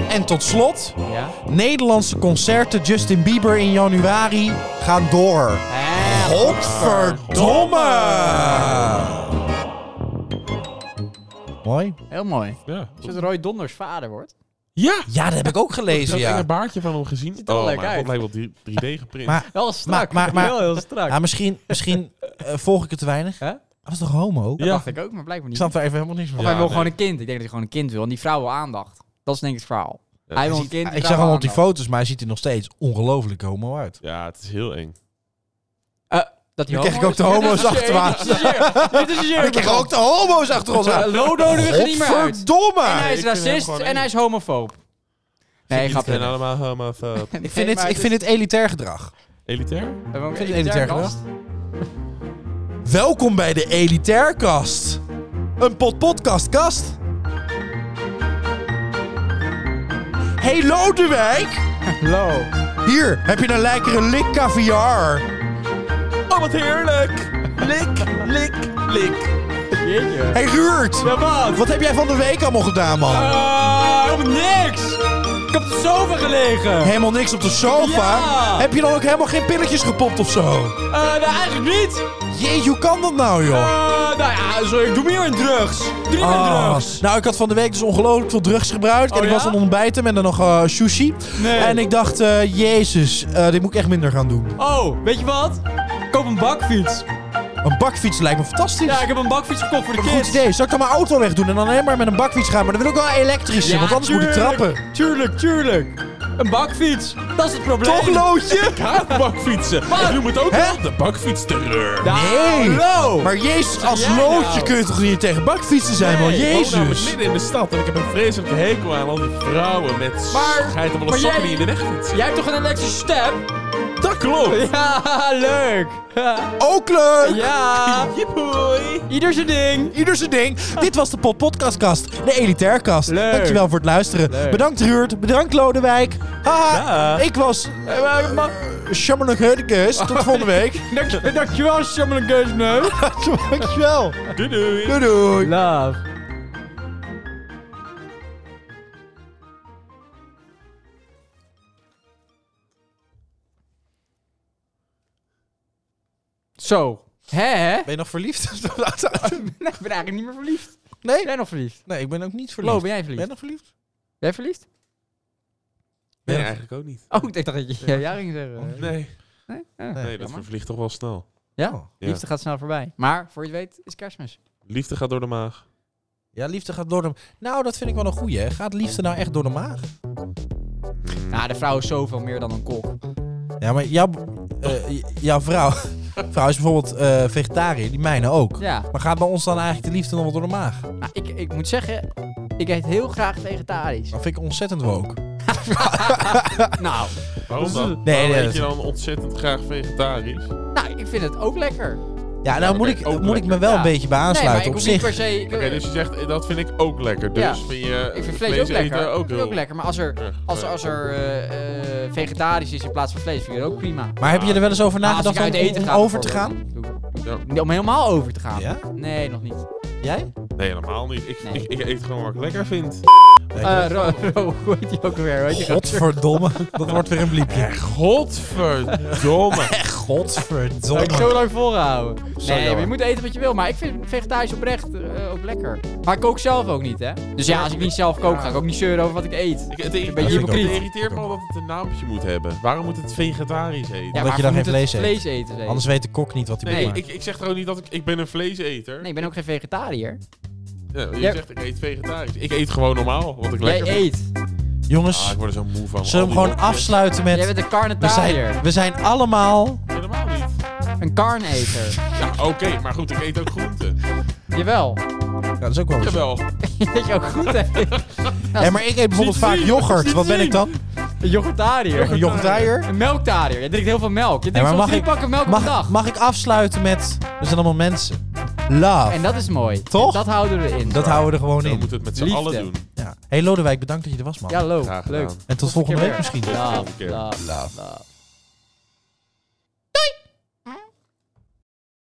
A: En tot slot,
C: Ja?
A: Nederlandse concerten Justin Bieber in januari gaan door.
C: Eh,
A: Godverdomme! Mooi.
C: Heel mooi.
B: Ja.
C: Is dat Roy Donders vader wordt?
B: Ja!
A: Ja, dat heb ik ook gelezen,
B: Dat
A: ja.
B: enge baardje van hem gezien. Ziet
C: er wel
B: oh,
C: leuk
B: maar
C: uit.
B: God, lijkt wel 3D geprint.
A: Maar,
C: Wel strak.
A: Maar- maar- maar-
C: wel heel strak.
A: ja, misschien, misschien eh, volg ik het te weinig.
C: Hè?
A: Dat is toch homo?
C: Dat dacht ik ook, maar blijkbaar
A: Ik
C: niet.
A: snap er even helemaal niks
C: Of
A: van.
B: Ja,
C: hij wil
B: nee.
C: gewoon een kind. Ik denk dat hij gewoon een kind wil. En die vrouw wil aandacht. Dat is denk ik het verhaal. hij wil een kind. die
A: Ik
C: vrouw
A: zag
C: wil
A: hem op die
C: aandacht.
A: foto's, maar hij ziet er nog steeds ongelooflijk homo uit.
B: Ja, het is heel eng.
C: Eh, dat hij
A: Nu krijg ik
C: homo
A: ook de
C: is.
A: homo's
C: Dit is
A: achter
C: je-
A: me.
C: dit is je- Dit is je.
A: Ik krijg ook de homo's achter ons aan.
C: Lodo er weer niet meer uit.
A: Godverdomme!
C: En hij is
B: Ik vind hem
C: racist
B: gewoon
C: en
B: eng.
C: hij is homofoob. Nee,
B: Ik
C: grapje.
B: ben allemaal eh, homofoob.
A: Ik vind, dit, ik vind dit elitair gedrag.
B: Elitair?
C: Ik
A: vind het elitair Welkom bij de Elitair Kast. Een pot podcastkast. Hey Lodewijk!
C: Low.
A: Hier heb je een lekkere lik caviar.
B: Oh, wat heerlijk! Lik, lik, lik.
C: Jeetje.
A: Hey Ruurt!
C: wat?
A: Wat heb jij van de week allemaal gedaan, man?
C: Ah, op niks. Ik heb er zoveel gelegen. Eh,
A: Helemaal niks op de sofa.
C: Ja.
A: Heb je dan ook helemaal geen pilletjes gepopt of zo?
C: Eh, nou, eigenlijk niet.
A: Jeetje, hoe kan dat nou, joh?
C: Eh, nou ja, zo, ik doe meer in drugs. Ik doe niet meer
A: Ah,
C: drugs.
A: Nou, ik had van de week dus ongelooflijk veel drugs gebruikt. en
C: Oh,
A: ik
C: ja?
A: was aan het ontbijten met dan nog eh, sushi.
C: Nee.
A: En ik dacht, eh, jezus, eh, dit moet ik echt minder gaan doen.
C: Oh, weet je wat? Koop een bakfiets.
A: Een bakfiets lijkt me fantastisch.
C: Ja, ik heb een bakfiets gekocht voor de
A: Een goed
C: kids.
A: idee. Zal ik dan mijn auto wegdoen en dan alleen maar met een bakfiets gaan? Maar dan wil ik wel een elektrische,
C: Ja,
A: want anders moet ik
C: tuurlijk.
A: trappen.
C: Tuurlijk, tuurlijk. Een bakfiets. Dat is het probleem.
B: Toch, Lootje? Ik haat bakfietsen.
C: Maar-
B: Je noemt het ook wel de bakfietsterreur.
A: Nee.
B: Hallo.
A: Maar jezus,
B: Wat
A: als
B: jij
A: loodje
B: nou?
A: kun je toch niet tegen bakfietsen zijn, man?
B: Nee, ik
C: oh,
B: woon
C: nou,
B: namelijk
A: Jezus.
B: midden in de stad en ik heb een vreselijke hekel aan al die vrouwen met
C: Maar-
B: geitenwolle
C: maar
B: sokken
C: jij-
B: die in de weg fietsen.
C: Jij hebt toch een elektrische stem?
B: Dat klopt.
C: Ja, leuk.
A: Ook leuk.
C: Ja.
B: Jippoei.
C: Ieder zijn ding.
A: Ieder zijn ding. Dit was de Pop Podcastkast, de Elitairkast.
C: Leuk.
A: Dankjewel voor het luisteren.
C: Leuk.
A: Bedankt Ruurt, bedankt Lodewijk. Haha,
B: Ja.
A: ik was Shamrock Hurricanes. Tot volgende week.
C: Eh, Dank- Dankjewel, Shaman Geusneus.
A: Dankjewel.
B: Doei doei.
A: Doei doei.
C: Love. Zo. Hè?
A: Ben je nog verliefd?
C: Nee, ik ben eigenlijk niet meer verliefd.
A: nee?
C: Ben jij nog verliefd?
A: Nee, ik ben ook niet verliefd.
C: Lo, ben jij
A: Ben je
C: verliefd?
A: nog verliefd?
C: Ben jij verliefd?
B: Nee,
A: Ja.
B: eigenlijk ook niet.
C: Oh, ik dacht dat je Oh. ja, ja ging zeggen.
B: Nee.
C: Nee?
B: Nee, dat vervliegt toch wel snel.
C: Oh, Ja,
B: Ja.
C: liefde gaat snel voorbij. Maar, voor je het weet, is kerstmis.
B: Liefde gaat door de maag.
A: Ja, liefde gaat door de... Nou, dat vind ik wel een goeie, hè. Gaat liefde nou echt door de maag?
C: Nou, de vrouw is zoveel meer dan een kok.
A: Ja, maar jouw, eh, j- jouw vrouw, vrouw is bijvoorbeeld eh vegetariër, die mijne ook.
C: Ja.
A: Maar gaat bij ons dan eigenlijk de liefde nog wel door de maag?
C: Nou, ik, ik moet zeggen, ik eet heel graag vegetarisch.
A: Dat vind ik ontzettend woke.
C: nou,
B: Waarom dan?
A: nee,
B: Dus,
A: dat-
B: eh, Waarom eet je dan ontzettend graag vegetarisch?
C: nou, ik vind het ook lekker.
A: Ja, nou
B: maar
A: moet
B: kijk,
A: ik,
B: ook
A: moet ik
B: lekker.
A: me wel
C: Ja.
A: een beetje bij
C: nee, maar
A: aansluiten
C: ik
A: op
C: hoef
A: zich.
C: niet per se... Ik,
B: Oké, dus je zegt, eh, dat vind ik ook lekker. Dus
C: Ja.
B: vind je eh,
C: ik vind vlees ook lekker.
B: eten ook
C: Vind ik
B: heel-
C: ook lekker, maar als er,
B: erg.
C: als, als er eh, eh, vegetarisch is in plaats van vlees, vind ik dat ook prima.
A: Maar heb je er wel eens over
C: Maar als
A: nagedacht
C: ik uit
A: om, om-
C: eten
A: om
C: ga,
A: over te gaan?
C: bijvoorbeeld, doe ik-
B: Ja.
C: Nee, Om helemaal over te gaan?
A: Ja?
C: Nee, nog niet.
A: Jij?
B: Nee, helemaal niet. Ik,
C: Nee.
B: ik, ik eet gewoon wat ik lekker vind.
C: Eh Ro, Ro, hoe heet die ook weer? Weet je,
A: Godverdomme, dat wordt weer een bliepje.
B: Godverdomme.
C: Dat heb ik
A: Godverdomme.
C: zo lang volgehouden. Nee,
B: jammer.
C: maar je moet eten wat je wil. Maar ik vind vegetarisch oprecht eh, ook lekker. Maar ik kook zelf ook niet, hè? Dus ja, als ik niet zelf kook, ga ik ook niet zeuren over wat ik eet.
B: Ik, het,
C: ben
B: het-
C: hypocriet.
B: het irriteert me al dat het een naampje moet hebben. Waarom moet het vegetarisch eten?
A: Omdat je dan
C: we
A: geen
C: moeten
A: vlees eet.
C: vlees eten. Zeker.
A: Anders weet de kok niet wat hij
B: Nee,
A: moet
B: ik, ik zeg toch ook niet dat ik... Ik ben een vleeseter.
C: Nee, ik ben ook geen vegetariër.
B: Ja, je
C: Jij-
B: zegt, ik eet vegetarisch. Ik eet gewoon normaal, wat ik
C: Jij
B: lekker vind.
C: eet.
A: Jongens,
B: Ah, ik word er zo moe van.
A: zullen we
B: Al
A: hem
B: die
A: gewoon afsluiten
C: Jij
A: met...
C: bent een
A: We
C: carnetariër.
A: zijn, we zijn allemaal...
B: Helemaal niet.
C: Een carneter.
B: Ja, oké, maar goed, ik eet ook groenten.
C: Jawel.
A: Ja, dat is ook wel weer zo.
B: Jawel.
C: dat je ook goed eet.
A: Hé, maar ik eet bijvoorbeeld
B: Ziet
A: vaak
B: zien,
A: yoghurt.
B: ziet
A: Wat ben ik
B: zien.
A: dan?
C: Een yoghurtariër.
A: Een yoghurtariër?
C: Een melktariër. Je drinkt heel veel melk. Je
A: Nee, maar
C: drinkt soms
A: mag
C: drie
A: ik,
C: pakken melk per
A: mag,
C: dag.
A: mag ik afsluiten met... Er zijn allemaal mensen. Love.
C: En dat is mooi.
A: Toch?
C: Dat houden we erin.
A: dat houden we er gewoon
B: We
A: in.
B: moeten het met z'n
C: Liefde.
B: allen doen.
A: Ja. Hey Lodewijk, bedankt dat je er was, man.
C: Ja, leuk.
B: Graag
C: Leuk.
B: gedaan.
A: en tot volgende week misschien.
C: Love,
B: keer.
C: love, love.